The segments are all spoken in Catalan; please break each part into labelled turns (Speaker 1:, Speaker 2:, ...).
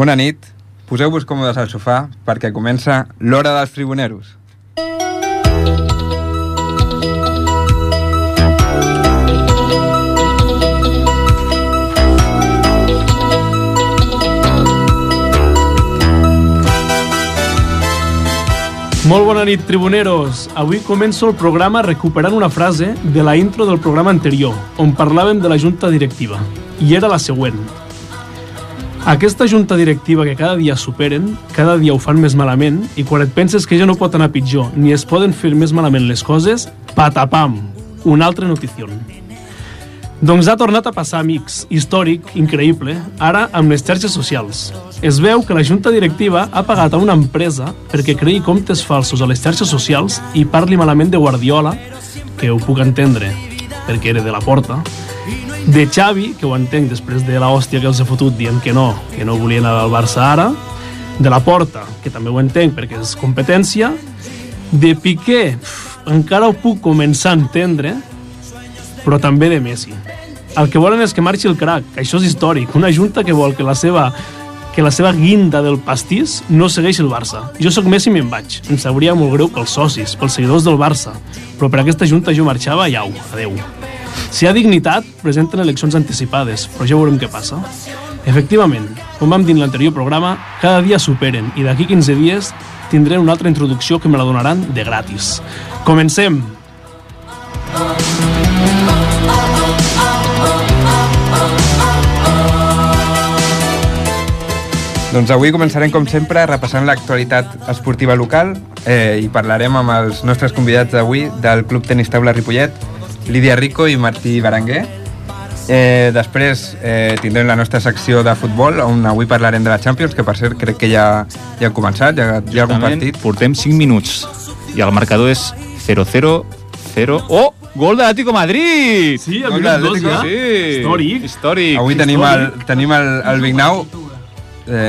Speaker 1: Bona nit, poseu-vos còmodes al sofà perquè comença l'hora dels tribuneros.
Speaker 2: Molt bona nit, tribuneros. Avui començo el programa recuperant una frase de la intro del programa anterior, on parlàvem de la junta directiva. I era la següent. Aquesta junta directiva que cada dia superen, cada dia ho fan més malament, i quan et penses que ja no pot anar pitjor, ni es poden fer més malament les coses, patapam, una altra notició. Doncs ha tornat a passar, amics. Històric, increïble, ara amb les xarxes socials. Es veu que la junta directiva ha pagat a una empresa perquè creï comptes falsos a les xarxes socials i parli malament de Guardiola, que ho puc entendre, perquè era de la porta, de Xavi, que ho entenc després de la hòstia que els he fotut dient que no, que no volien anar al Barça ara, de la porta, que també ho entenc perquè és competència, de Piqué, pf, encara ho puc començar a entendre, però també de Messi. El que volen és que marxi el crack, això és històric, una junta que vol que la seva que la seva guinda del pastís no segueixi el Barça. Jo sóc Messi i me'n vaig. Em sabria molt greu pels socis, pels seguidors del Barça, però per aquesta junta jo marxava i au, adeu. Si hi ha dignitat, presenten eleccions anticipades, però ja veurem què passa. Efectivament, com vam dir en l'anterior programa, cada dia superen i d'aquí 15 dies tindré una altra introducció que me la donaran de gratis. Comencem!
Speaker 1: Doncs avui començarem, com sempre, repassant l'actualitat esportiva local eh, i parlarem amb els nostres convidats d'avui del Club Tenis Taula Ripollet, Lídia Rico i Martí Baranguer. Eh, després eh, tindrem la nostra secció de futbol, on avui parlarem de la Champions, que per cert crec que ja, ja ha començat, ja, ja ha algun
Speaker 3: Exactament,
Speaker 1: partit.
Speaker 3: Portem 5 minuts i el marcador és 0-0, 0... Oh! Gol de l'Atlético Madrid!
Speaker 2: Sí,
Speaker 1: Gol
Speaker 2: el minut dos,
Speaker 1: d'Atlético,
Speaker 2: ja.
Speaker 3: sí.
Speaker 2: Històric.
Speaker 3: Històric.
Speaker 1: Avui tenim el, tenim el, el Vignau, eh,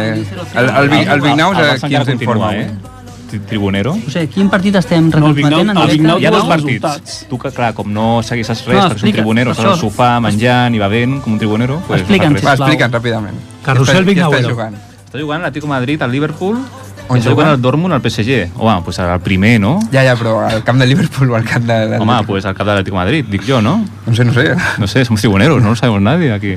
Speaker 1: el, el, Vig- el Vignau
Speaker 3: El
Speaker 1: és
Speaker 3: Barça
Speaker 1: qui
Speaker 3: encara
Speaker 1: ens informa. eh?
Speaker 3: continua, eh?
Speaker 1: avui.
Speaker 3: Tri- Tribunero.
Speaker 4: O sigui, quin partit estem
Speaker 2: No, el Vignau-
Speaker 4: retransmetent en
Speaker 2: el
Speaker 4: directe?
Speaker 2: Vignau
Speaker 3: Hi ha
Speaker 2: Veus
Speaker 3: dos
Speaker 2: els
Speaker 3: partits.
Speaker 2: resultats.
Speaker 3: Tu que, clar, com no segueixes res,
Speaker 4: No,
Speaker 3: no, perquè ets un
Speaker 4: explica,
Speaker 3: tribunero,
Speaker 4: per
Speaker 3: estàs al
Speaker 4: això.
Speaker 3: sofà menjant i bevent com un tribunero... Pues,
Speaker 4: Explica'ns,
Speaker 1: Va,
Speaker 3: no fas
Speaker 4: sisplau.
Speaker 1: explica't ràpidament.
Speaker 5: Carrusel
Speaker 1: Qui està- qui
Speaker 5: Vignauero.
Speaker 1: està jugant?
Speaker 3: res. Està jugant l'Atlético Madrid, al Liverpool,
Speaker 1: On
Speaker 3: On està jugant
Speaker 1: juga?
Speaker 3: el Dortmund, al PSG. Home, pues el primer, no?
Speaker 1: Ja, ja, però al camp de Liverpool o al camp de... de
Speaker 3: Home, pues al cap de l'Atlético Madrid, dic jo, no?
Speaker 1: No sé, no sé.
Speaker 3: No sé, som tribuneros, no lo sabemos nadie aquí.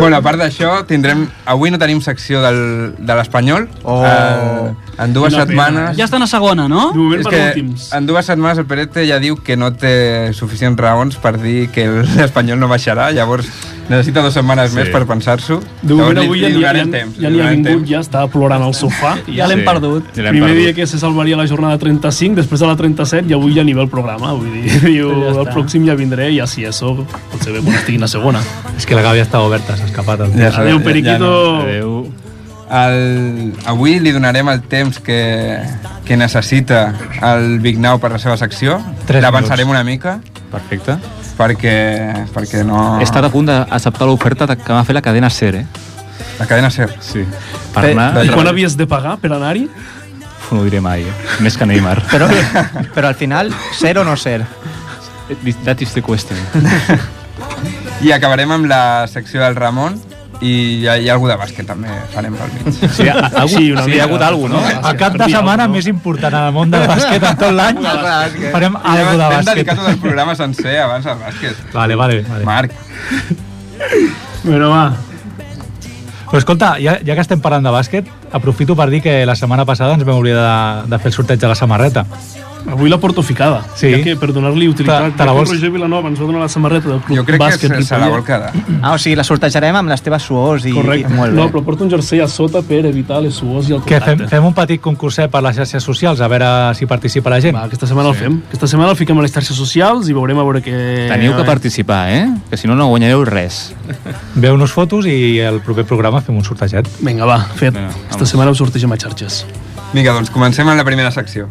Speaker 1: Bueno, a part d'això, tindrem... Avui no tenim secció del, de l'Espanyol.
Speaker 5: Oh.
Speaker 1: Eh, en dues
Speaker 2: Quina pena.
Speaker 1: setmanes...
Speaker 4: Ja estan a segona, no?
Speaker 2: De moment
Speaker 1: és
Speaker 2: per
Speaker 1: que
Speaker 2: últims.
Speaker 1: en dues setmanes el Perete ja diu que no té suficients raons per dir que l'Espanyol no baixarà, llavors necessita dues setmanes
Speaker 3: Sí.
Speaker 1: sí. més per pensar-s'ho.
Speaker 2: De
Speaker 1: Llavors
Speaker 2: moment
Speaker 1: li-
Speaker 2: avui ja
Speaker 1: li
Speaker 2: n'hi ha,
Speaker 1: donarem
Speaker 2: ja,
Speaker 1: temps,
Speaker 2: ja
Speaker 1: li
Speaker 2: n'hi ha
Speaker 1: donarem
Speaker 2: vingut,
Speaker 1: temps.
Speaker 2: ja està plorant al sofà.
Speaker 4: Ja l'hem perdut.
Speaker 3: Ja l'hem
Speaker 2: Primer
Speaker 3: perdut.
Speaker 2: dia que se salvaria la jornada 35, després de la 37 i avui ja ni ve el programa. Vull dir, diu,
Speaker 4: Ja
Speaker 2: ja
Speaker 4: està.
Speaker 2: el pròxim ja vindré i així eso, potser ve quan estigui a segona.
Speaker 5: És que la gàbia està oberta, s'ha escapat. El
Speaker 1: Ja
Speaker 5: ja.
Speaker 1: s'ha-
Speaker 2: Adéu,
Speaker 1: no.
Speaker 2: Periquito.
Speaker 3: Adéu.
Speaker 1: El, avui li donarem el temps que, que necessita el Vignau per la seva secció.
Speaker 5: Tres
Speaker 1: L'avançarem una mica
Speaker 3: Perfecte.
Speaker 1: perquè, perquè no...
Speaker 5: Ah.
Speaker 3: He estat a punt d'acceptar l'oferta de- que m'ha fet la cadena SER, eh?
Speaker 1: La cadena SER.
Speaker 3: Sí. Per
Speaker 5: Fe-
Speaker 3: anar...
Speaker 2: I quan havies de pagar per anar-hi?
Speaker 3: Uf, No ho diré mai, eh? més que Neymar.
Speaker 5: Però, però al final, ser o no ser?
Speaker 3: That is the question.
Speaker 1: I acabarem amb la secció del Ramon i hi ha, hi ha algú de bàsquet també farem pel mig.
Speaker 3: Sí, hi ha, algú,
Speaker 2: Sí, una
Speaker 3: sí, hi ha
Speaker 2: mica.
Speaker 3: hagut alguna cosa, no?
Speaker 5: El cap de setmana més important en el món del bàsquet en tot l'any. Farem alguna de
Speaker 1: Hem
Speaker 5: bàsquet.
Speaker 1: dedicat tot el programa sencer abans al bàsquet.
Speaker 5: Vale, vale. vale.
Speaker 1: Marc,
Speaker 2: Bueno, va.
Speaker 5: Però escolta, ja, ja que estem parlant de bàsquet, aprofito per dir que la setmana passada ens vam oblidar de, de fer el sorteig de la samarreta.
Speaker 2: Avui la porto ficada.
Speaker 5: Sí.
Speaker 2: Ja que per donar-li utilitat...
Speaker 5: Te- te la
Speaker 2: ja que
Speaker 5: vols-
Speaker 2: Roger Vilanova ens va donar la samarreta del club
Speaker 1: jo crec
Speaker 2: bàsquet.
Speaker 1: que se, se la
Speaker 2: Ripollet.
Speaker 1: vol quedar.
Speaker 6: Ah, o sigui, la sortejarem amb les teves suors i...
Speaker 2: Correcte.
Speaker 6: I, molt bé.
Speaker 2: No, però porto un jersei a sota per evitar les suors i el
Speaker 5: Que
Speaker 2: contacte.
Speaker 5: fem, fem un petit concurset per les xarxes socials, a veure si participa la gent.
Speaker 2: Va, aquesta setmana sí. el fem. Aquesta setmana el fiquem a les xarxes socials i veurem a veure què...
Speaker 3: Teniu que participar, eh? Que si no, no guanyareu res.
Speaker 5: Veu-nos fotos i el proper programa fem un sortejet.
Speaker 2: Vinga, va, fet.
Speaker 3: Vinga,
Speaker 2: Vinga,
Speaker 3: vamos.
Speaker 2: Esta setmana ho sortegem a xarxes.
Speaker 1: Vinga, doncs comencem amb la primera secció.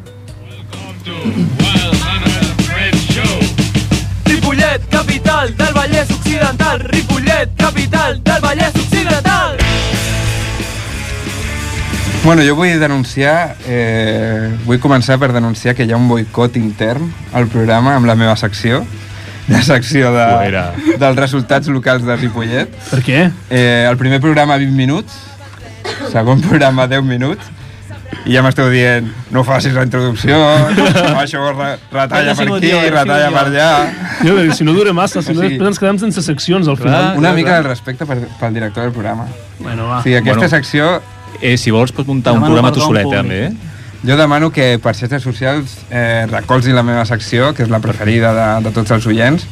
Speaker 7: Ripollet, capital del Vallès Occidental. Ripollet, capital del Vallès Occidental.
Speaker 1: Bueno, jo vull denunciar, eh, vull començar per denunciar que hi ha un boicot intern al programa amb la meva secció, la secció de,
Speaker 3: Fuera.
Speaker 1: dels resultats locals de Ripollet.
Speaker 2: Per què?
Speaker 1: Eh, el primer programa 20 minuts segon programa 10 minuts, i ja m'esteu dient, no facis la introducció, això re- retalla
Speaker 6: Ha
Speaker 1: per
Speaker 6: sigut
Speaker 1: aquí,
Speaker 6: jo, ha sigut
Speaker 1: retalla
Speaker 6: jo.
Speaker 1: per allà...
Speaker 2: Jo crec que si no dura massa, si no
Speaker 1: O sigui-
Speaker 2: després ens quedem sense seccions al final.
Speaker 1: Una mica de respecte per, pel director del programa.
Speaker 2: Ah, Bueno, va.
Speaker 1: O sigui, aquesta
Speaker 3: Bueno.
Speaker 1: secció,
Speaker 3: Eh, si vols, pots muntar un
Speaker 4: Demano
Speaker 3: programa tu
Speaker 4: perdó al
Speaker 3: solet,
Speaker 4: públic.
Speaker 3: també, eh?
Speaker 1: jo demano que per xarxes socials eh, recolzin la meva secció, que és la preferida de, de tots els oients,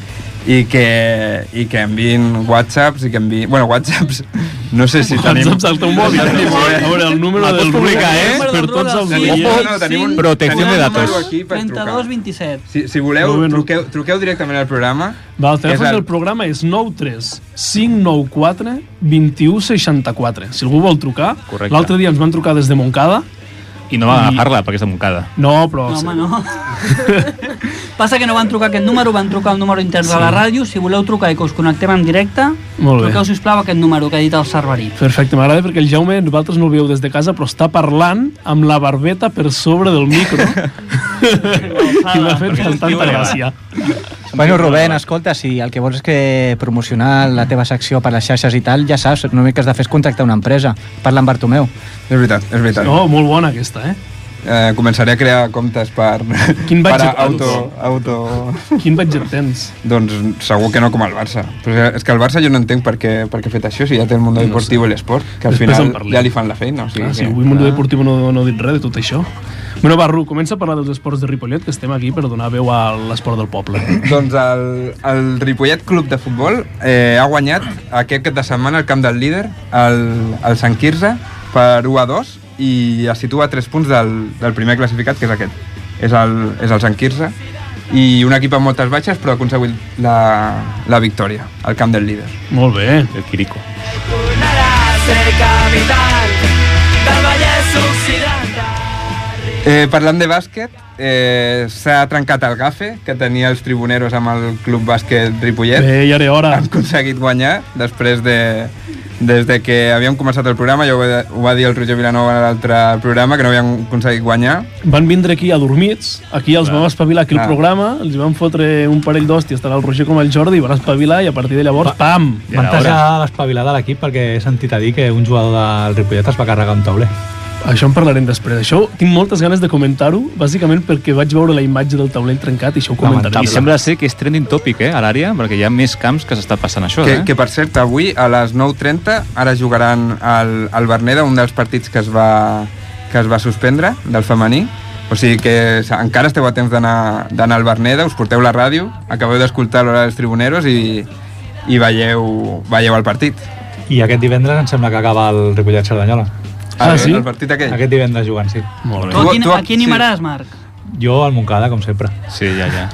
Speaker 1: i que, i que enviïn whatsapps i que enviïn... Bueno, whatsapps, no sé si tenim...
Speaker 2: WhatsApp al teu mòbil. eh?
Speaker 1: No tenim-
Speaker 2: A veure, el número
Speaker 3: La
Speaker 2: del
Speaker 3: pots publicar, eh?
Speaker 2: Per tots els
Speaker 1: Tenim-
Speaker 2: oients.
Speaker 1: no, no, tenim un,
Speaker 3: Protecció
Speaker 1: tenim
Speaker 3: de
Speaker 1: un
Speaker 3: datos.
Speaker 1: número aquí per trucar.
Speaker 4: 32 27.
Speaker 1: Si, si voleu,
Speaker 2: No, bé, no.
Speaker 1: truqueu, truqueu directament al programa.
Speaker 2: Va, el telèfon
Speaker 1: És el-
Speaker 2: del programa és 93 594 2164. Si algú vol trucar,
Speaker 3: Correcte.
Speaker 2: l'altre dia ens van trucar des de Montcada.
Speaker 3: I no va
Speaker 2: I-
Speaker 3: agafar-la, perquè és de Montcada.
Speaker 2: No, però...
Speaker 4: No, home, no. Passa que no van trucar aquest número, van trucar el número intern de la ràdio. Si voleu trucar i que us connectem en directe,
Speaker 2: Molt bé.
Speaker 4: truqueu, sisplau, aquest número que ha dit el Cerverí.
Speaker 2: Perfecte, m'agrada perquè el Jaume, vosaltres no el veieu des de casa, però està parlant amb la barbeta per sobre del micro. I m'ha fet bastant gràcia.
Speaker 6: Bueno, Rubén, escolta, si el que vols és que promocionar la teva secció per les xarxes i tal, ja saps, només que has de fer és contactar una empresa. Parla amb Bartomeu.
Speaker 1: És veritat, és veritat.
Speaker 2: No, molt bona aquesta, eh?
Speaker 1: Eh, començaré a crear comptes per...
Speaker 2: Quin
Speaker 1: per
Speaker 2: budget
Speaker 1: auto,
Speaker 2: tens?
Speaker 1: auto...
Speaker 2: Quin budget tens?
Speaker 1: Doncs segur que no com el Barça. Però és que el Barça jo no entenc per què, per què ha fet això, si ja té el Mundo Deportivo i l'Esport, que al
Speaker 2: Després en
Speaker 1: final
Speaker 2: parlem.
Speaker 1: ja li fan la feina. O sigui,
Speaker 2: Clar, si
Speaker 1: que...
Speaker 2: Ah, avui Mundo Deportivo no, no ha dit res de tot això. Bueno, va, Ru, comença a parlar dels esports de Ripollet, que estem aquí per donar veu a l'esport del poble.
Speaker 1: Doncs el, el Ripollet Club de Futbol eh, ha guanyat aquest cap de setmana el camp del líder, el, el Sant Quirze, per 1 a 2 i es situa a 3 punts del, del primer classificat, que és aquest. És el, és el Sant Quirze i un equip amb moltes baixes però ha aconseguit la, la victòria al camp del líder.
Speaker 2: Molt bé.
Speaker 3: El Quirico.
Speaker 7: Tornarà a ser capital del Vallès Occidental.
Speaker 1: Eh, parlant de bàsquet, eh, s'ha trencat el gafe que tenia els tribuneros amb el club bàsquet Ripollet.
Speaker 2: Bé, ja era hora.
Speaker 1: han aconseguit guanyar després de, des de que havíem començat el programa, ja ho va, ho va dir el Roger Vilanova en l'altre programa, que no havien aconseguit guanyar.
Speaker 2: Van vindre aquí adormits, aquí els vam espavilar aquí
Speaker 1: Clar.
Speaker 2: el programa, els van fotre un parell d'hòsties tant el Roger com el Jordi, van espavilar i a partir de llavors, pam!
Speaker 3: Ja
Speaker 5: Van
Speaker 3: era hora.
Speaker 5: tasar l'espavilar de l'equip perquè he sentit a dir que un jugador del Ripollet es va carregar un tauler.
Speaker 2: Això en parlarem després. Això tinc moltes ganes de comentar-ho, bàsicament perquè vaig veure la imatge del taulell trencat i això ho comentaré.
Speaker 3: I sembla ser que és trending topic, eh, a l'àrea, perquè hi ha més camps que s'està passant això,
Speaker 1: Que,
Speaker 3: eh?
Speaker 1: que per cert, avui a les 9.30 ara jugaran al, al Berneda, un dels partits que es va, que es va suspendre, del femení. O sigui que s- encara esteu a temps d'anar d'anar al Berneda, us porteu la ràdio, acabeu d'escoltar l'hora dels tribuneros i, i veieu, veieu el partit.
Speaker 5: I aquest divendres em sembla que acaba el Ripollet Cerdanyola.
Speaker 2: Ah,
Speaker 1: el,
Speaker 2: sí?
Speaker 1: el partit aquell.
Speaker 5: Aquest divendres jugant, sí.
Speaker 2: Molt
Speaker 4: Tu, a qui,
Speaker 1: Tu- tu-
Speaker 4: a qui animaràs, Marc?
Speaker 5: Jo al Montcada, com sempre.
Speaker 3: Sí, ja, ja.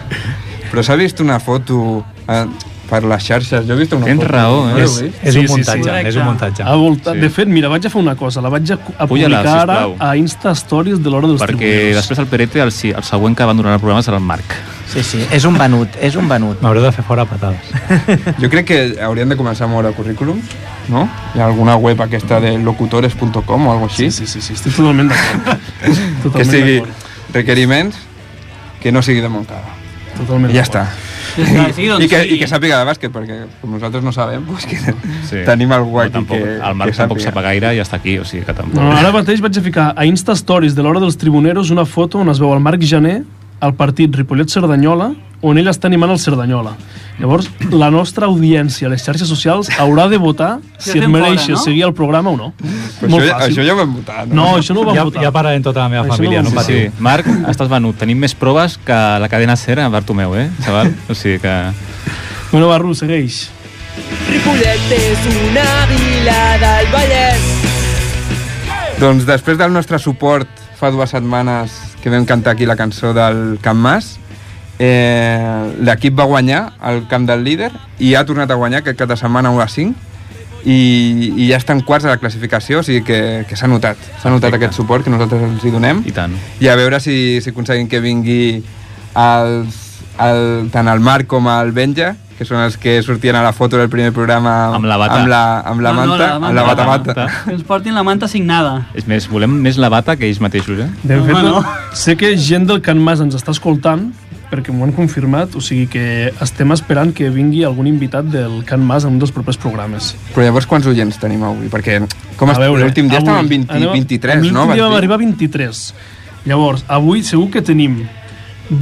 Speaker 1: Però s'ha vist una foto eh, per les xarxes. Jo he vist una
Speaker 3: Tens
Speaker 1: foto.
Speaker 3: raó, eh?
Speaker 1: l'heu
Speaker 5: és,
Speaker 1: vist?
Speaker 5: és
Speaker 2: Sí,
Speaker 5: un
Speaker 2: sí, sí.
Speaker 5: muntatge, és un muntatge.
Speaker 2: A volta...
Speaker 3: Sí.
Speaker 2: De fet, mira, vaig a fer una cosa, la vaig a, a
Speaker 3: Puja-la,
Speaker 2: publicar ara
Speaker 3: sisplau.
Speaker 2: a Insta Stories de l'hora dels
Speaker 3: Perquè
Speaker 2: tribuneros.
Speaker 3: després el Perete, el, si- el següent que abandonarà el programa serà el Marc.
Speaker 6: Sí, sí, és un venut, és un venut.
Speaker 5: M'haureu de fer fora a patades.
Speaker 1: Jo crec que haurien de començar a moure currículums, no? Hi ha alguna web aquesta de locutores.com o alguna cosa així?
Speaker 2: Sí, sí, sí, sí, estic totalment d'acord.
Speaker 1: Que
Speaker 2: Totalment
Speaker 1: sigui
Speaker 2: d'acord.
Speaker 1: requeriments que no sigui de Montcada.
Speaker 2: Totalment
Speaker 1: I ja
Speaker 2: d'acord.
Speaker 1: està.
Speaker 4: Ja està, sí, doncs
Speaker 1: I que,
Speaker 4: sí.
Speaker 1: I que sàpiga de bàsquet, perquè com nosaltres no sabem, doncs que
Speaker 3: Sí.
Speaker 1: tenim algú
Speaker 3: Però
Speaker 1: aquí
Speaker 3: tampoc,
Speaker 1: que,
Speaker 3: el Marc
Speaker 1: que
Speaker 3: tampoc
Speaker 1: sàpiga.
Speaker 3: sap gaire i ja està aquí, o sigui que tampoc...
Speaker 2: No, ara mateix vaig a ficar a Insta Stories de l'hora dels tribuneros una foto on es veu el Marc Jané al partit Ripollet-Cerdanyola, on ell està animant el Cerdanyola. Llavors, la nostra audiència a les xarxes socials haurà de votar
Speaker 4: el
Speaker 2: si et
Speaker 4: fem fora,
Speaker 2: mereixes
Speaker 4: no?
Speaker 2: seguir el programa o no.
Speaker 1: Però
Speaker 2: Molt
Speaker 1: això,
Speaker 2: fàcil.
Speaker 1: això ja ho vam votar, no?
Speaker 2: No, això no ho vam
Speaker 5: Ja,
Speaker 2: votar.
Speaker 5: ja parlaré amb tota la meva
Speaker 2: Això no
Speaker 5: família,
Speaker 2: ho
Speaker 5: no
Speaker 2: vam
Speaker 5: patiu.
Speaker 3: Sí. Marc, estàs venut. Tenim més proves que la cadena cera en Bartomeu, eh, xaval? O sigui que...
Speaker 2: Bueno, Barru, segueix.
Speaker 7: Ripollet és una vila del Vallès.
Speaker 1: Doncs després del nostre suport fa dues setmanes que vam cantar aquí la cançó del Camp Mas, eh, l'equip va guanyar el camp del líder i ha tornat a guanyar aquest cap de setmana 1 a 5 i, i ja estan quarts a la classificació, o sigui que, que s'ha notat. S'ha notat aquest suport que nosaltres els hi donem
Speaker 3: I tant.
Speaker 1: i a veure si, si aconseguim que vingui els, el, tant el Marc com el Benja, que són els que sortien a la foto del primer programa
Speaker 3: Amb la bata.
Speaker 1: amb la, amb la
Speaker 4: Ah, No, no,
Speaker 1: manta,
Speaker 4: la
Speaker 1: amb la
Speaker 4: manta.
Speaker 1: bata manta.
Speaker 4: Que ens portin la manta signada.
Speaker 3: És més, volem més la bata que ells mateixos, eh?
Speaker 2: De
Speaker 4: Home,
Speaker 2: fet,
Speaker 4: no.
Speaker 2: sé que gent del Can Mas ens està escoltant perquè m'ho han confirmat, o sigui que estem esperant que vingui algun invitat del Can Mas en un dels propers programes.
Speaker 1: Però llavors quants oients tenim avui? Perquè com
Speaker 2: A
Speaker 1: est-
Speaker 2: veure,
Speaker 1: l'últim dia
Speaker 2: avui,
Speaker 1: estàvem 20,
Speaker 2: anem a-
Speaker 1: 23, no?
Speaker 2: L'últim dia vam
Speaker 1: Van dir.
Speaker 2: arribar a 23. Llavors, avui segur que tenim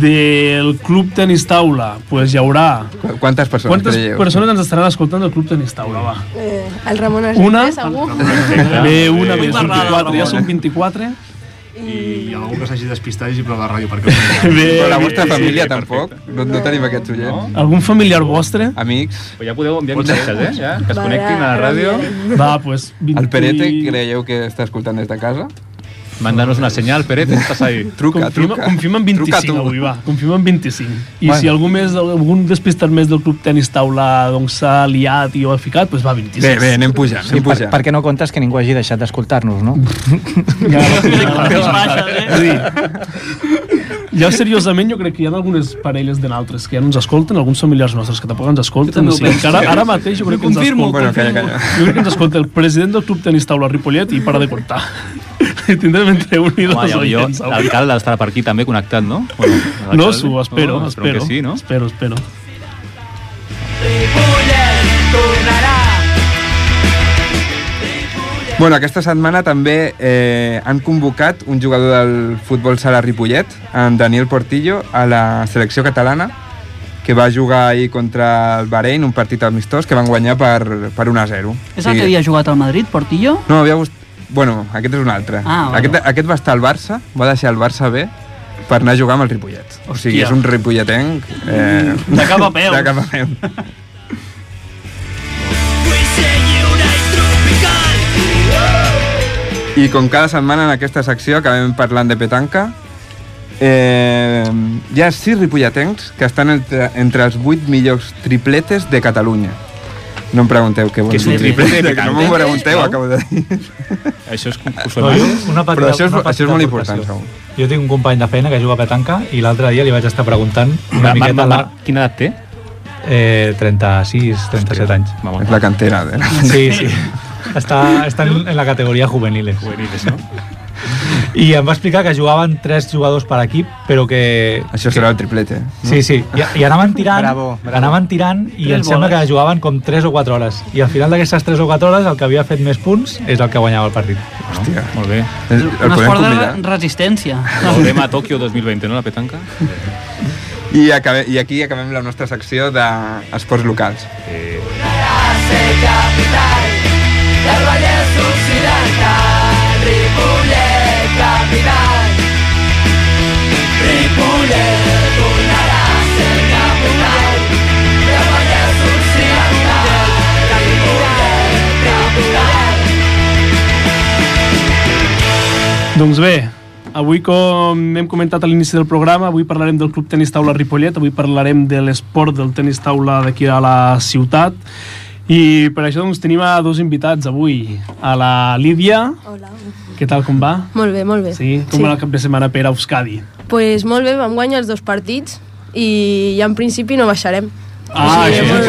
Speaker 2: del Club Tenis Taula, doncs pues hi haurà...
Speaker 1: Qu- Quantes persones
Speaker 2: Quantes
Speaker 1: creieu?
Speaker 2: persones ens estaran escoltant del Club Tenis Taula, va?
Speaker 8: Eh, el Ramon Argenter,
Speaker 2: Una.
Speaker 8: segur.
Speaker 2: Bé, una, bé, són
Speaker 9: Barrada,
Speaker 2: 24, ja
Speaker 9: Ramon.
Speaker 2: són 24.
Speaker 9: I algú que s'hagi despistat i hagi posat la ràdio perquè...
Speaker 1: Però la
Speaker 2: bé.
Speaker 1: vostra família tampoc? No, no tenim aquests oients?
Speaker 2: Algun familiar vostre?
Speaker 1: Amics?
Speaker 3: Pues Ja podeu enviar missatges, eh? Ja, que es
Speaker 8: Vale,
Speaker 3: connectin a la ràdio.
Speaker 2: Va, doncs... Pues, 20...
Speaker 1: El Perete creieu que està escoltant des de casa?
Speaker 3: Mandanos una senyal, Peret, estàs ahí.
Speaker 1: Truca,
Speaker 2: Confirma,
Speaker 1: truca.
Speaker 2: confirma en
Speaker 1: Truca
Speaker 2: 25
Speaker 1: tu.
Speaker 2: avui, va. Confirma en 25. I
Speaker 1: Bueno.
Speaker 2: si algú més, algun despistat més del club tenis taula doncs s'ha liat i ho ha ficat, doncs va, 26.
Speaker 1: Bé, bé, anem pujant, anem
Speaker 6: Per,
Speaker 1: pujant.
Speaker 6: perquè no comptes que ningú hagi deixat d'escoltar-nos, no?
Speaker 2: Ja, ja,
Speaker 9: Les
Speaker 2: ja,
Speaker 9: baixes, eh?
Speaker 2: És a dir, ja seriosament jo crec que hi ha algunes parelles de naltres que ja no ens escolten, alguns familiars nostres que tampoc ens escolten.
Speaker 4: també ho
Speaker 2: O sigui,
Speaker 4: penso.
Speaker 2: que ara, ara mateix jo crec que ens
Speaker 4: confirmo,
Speaker 2: escolten.
Speaker 1: Bueno, calla, calla.
Speaker 2: Jo crec que ens escolta el president del club tenis taula Ripollet i para de comptar. I tindrem entre un i dos
Speaker 3: Home, ja, jo,
Speaker 2: oients. avui.
Speaker 3: l'alcalde estarà per aquí també connectat, no? Bueno, l'alcalde-
Speaker 2: No, s'ho espero,
Speaker 3: No,
Speaker 2: espero.
Speaker 3: que sí, no?
Speaker 2: Espero, espero.
Speaker 7: Ripollet tornarà.
Speaker 1: Bueno, aquesta setmana també eh, han convocat un jugador del futbol sala Ripollet, en Daniel Portillo, a la selecció catalana, que va jugar ahir contra el Bahrein, un partit amistós, que van guanyar per, per 1 a 0.
Speaker 4: És el que havia jugat al Madrid, Portillo?
Speaker 1: No, havia gust... Bueno, aquest és un altre.
Speaker 4: Ah, bueno.
Speaker 1: aquest, aquest va estar al Barça, va deixar el Barça bé per anar a jugar amb el Ripollet. O sigui,
Speaker 2: Hòstia.
Speaker 1: és un ripolletenc... Eh,
Speaker 9: De cap a peus.
Speaker 1: De cap a peus.
Speaker 7: Vull ser lliure i tropical.
Speaker 1: I com cada setmana en aquesta secció acabem parlant de petanca, eh, hi ha sis ripolletens que estan entre, entre els vuit millors tripletes de Catalunya. No em pregunteu què vol
Speaker 3: Que és un triplete de
Speaker 1: que no
Speaker 3: petanca?
Speaker 1: m'ho pregunteu,
Speaker 3: Sisplau.
Speaker 1: acabo de dir.
Speaker 3: Això és
Speaker 5: No,
Speaker 3: concursonal.
Speaker 5: jo, una petita,
Speaker 1: Però això és- això
Speaker 5: una petita
Speaker 1: és molt
Speaker 5: aportació.
Speaker 1: important, segur.
Speaker 5: Jo tinc un company de feina que juga a petanca i l'altre dia li vaig estar preguntant una
Speaker 3: Marc, Marc,
Speaker 5: miqueta la,
Speaker 3: Marc, quina edat té?
Speaker 5: eh, 36, 37 anys.
Speaker 3: Vamos.
Speaker 1: És la cantera. eh? De...
Speaker 5: Sí, sí. Està, està en, en la categoria juveniles.
Speaker 3: Juveniles, no?
Speaker 5: I em va explicar que jugaven tres jugadors per equip, però que...
Speaker 1: Això serà el triplete.
Speaker 5: Sí, sí, i, i anaven tirant,
Speaker 6: Bravo, bravo.
Speaker 5: anaven tirant i em sembla que jugaven com 3 o 4 hores. I al final d'aquestes 3 o 4 hores el que havia fet més punts és el que guanyava el partit.
Speaker 1: Hòstia.
Speaker 3: Molt bé.
Speaker 1: El,
Speaker 4: Un
Speaker 1: el podem
Speaker 4: esport de
Speaker 1: convidar?
Speaker 4: resistència.
Speaker 3: Volvem a Tòquio 2020, no, la petanca?
Speaker 1: I, acabe, I aquí acabem la nostra secció d'esports locals.
Speaker 7: Del Vallès Occidental, Ripollet capital. Ripollet tornarà a ser capital. Del Vallès Occidental, Ripollet capital.
Speaker 2: Doncs bé, avui com hem comentat a l'inici del programa, avui parlarem del Club Tenis Taula Ripollet, avui parlarem de l'esport del tenis taula d'aquí a la ciutat i per això doncs, tenim a dos invitats avui, a la Lídia,
Speaker 8: Hola.
Speaker 2: què tal, com va?
Speaker 8: Molt bé, molt bé.
Speaker 2: Sí, com va el cap de setmana per a Euskadi?
Speaker 8: pues molt bé, vam guanyar els dos partits i ja en principi no baixarem. Sí,
Speaker 2: Ah, això és
Speaker 8: molt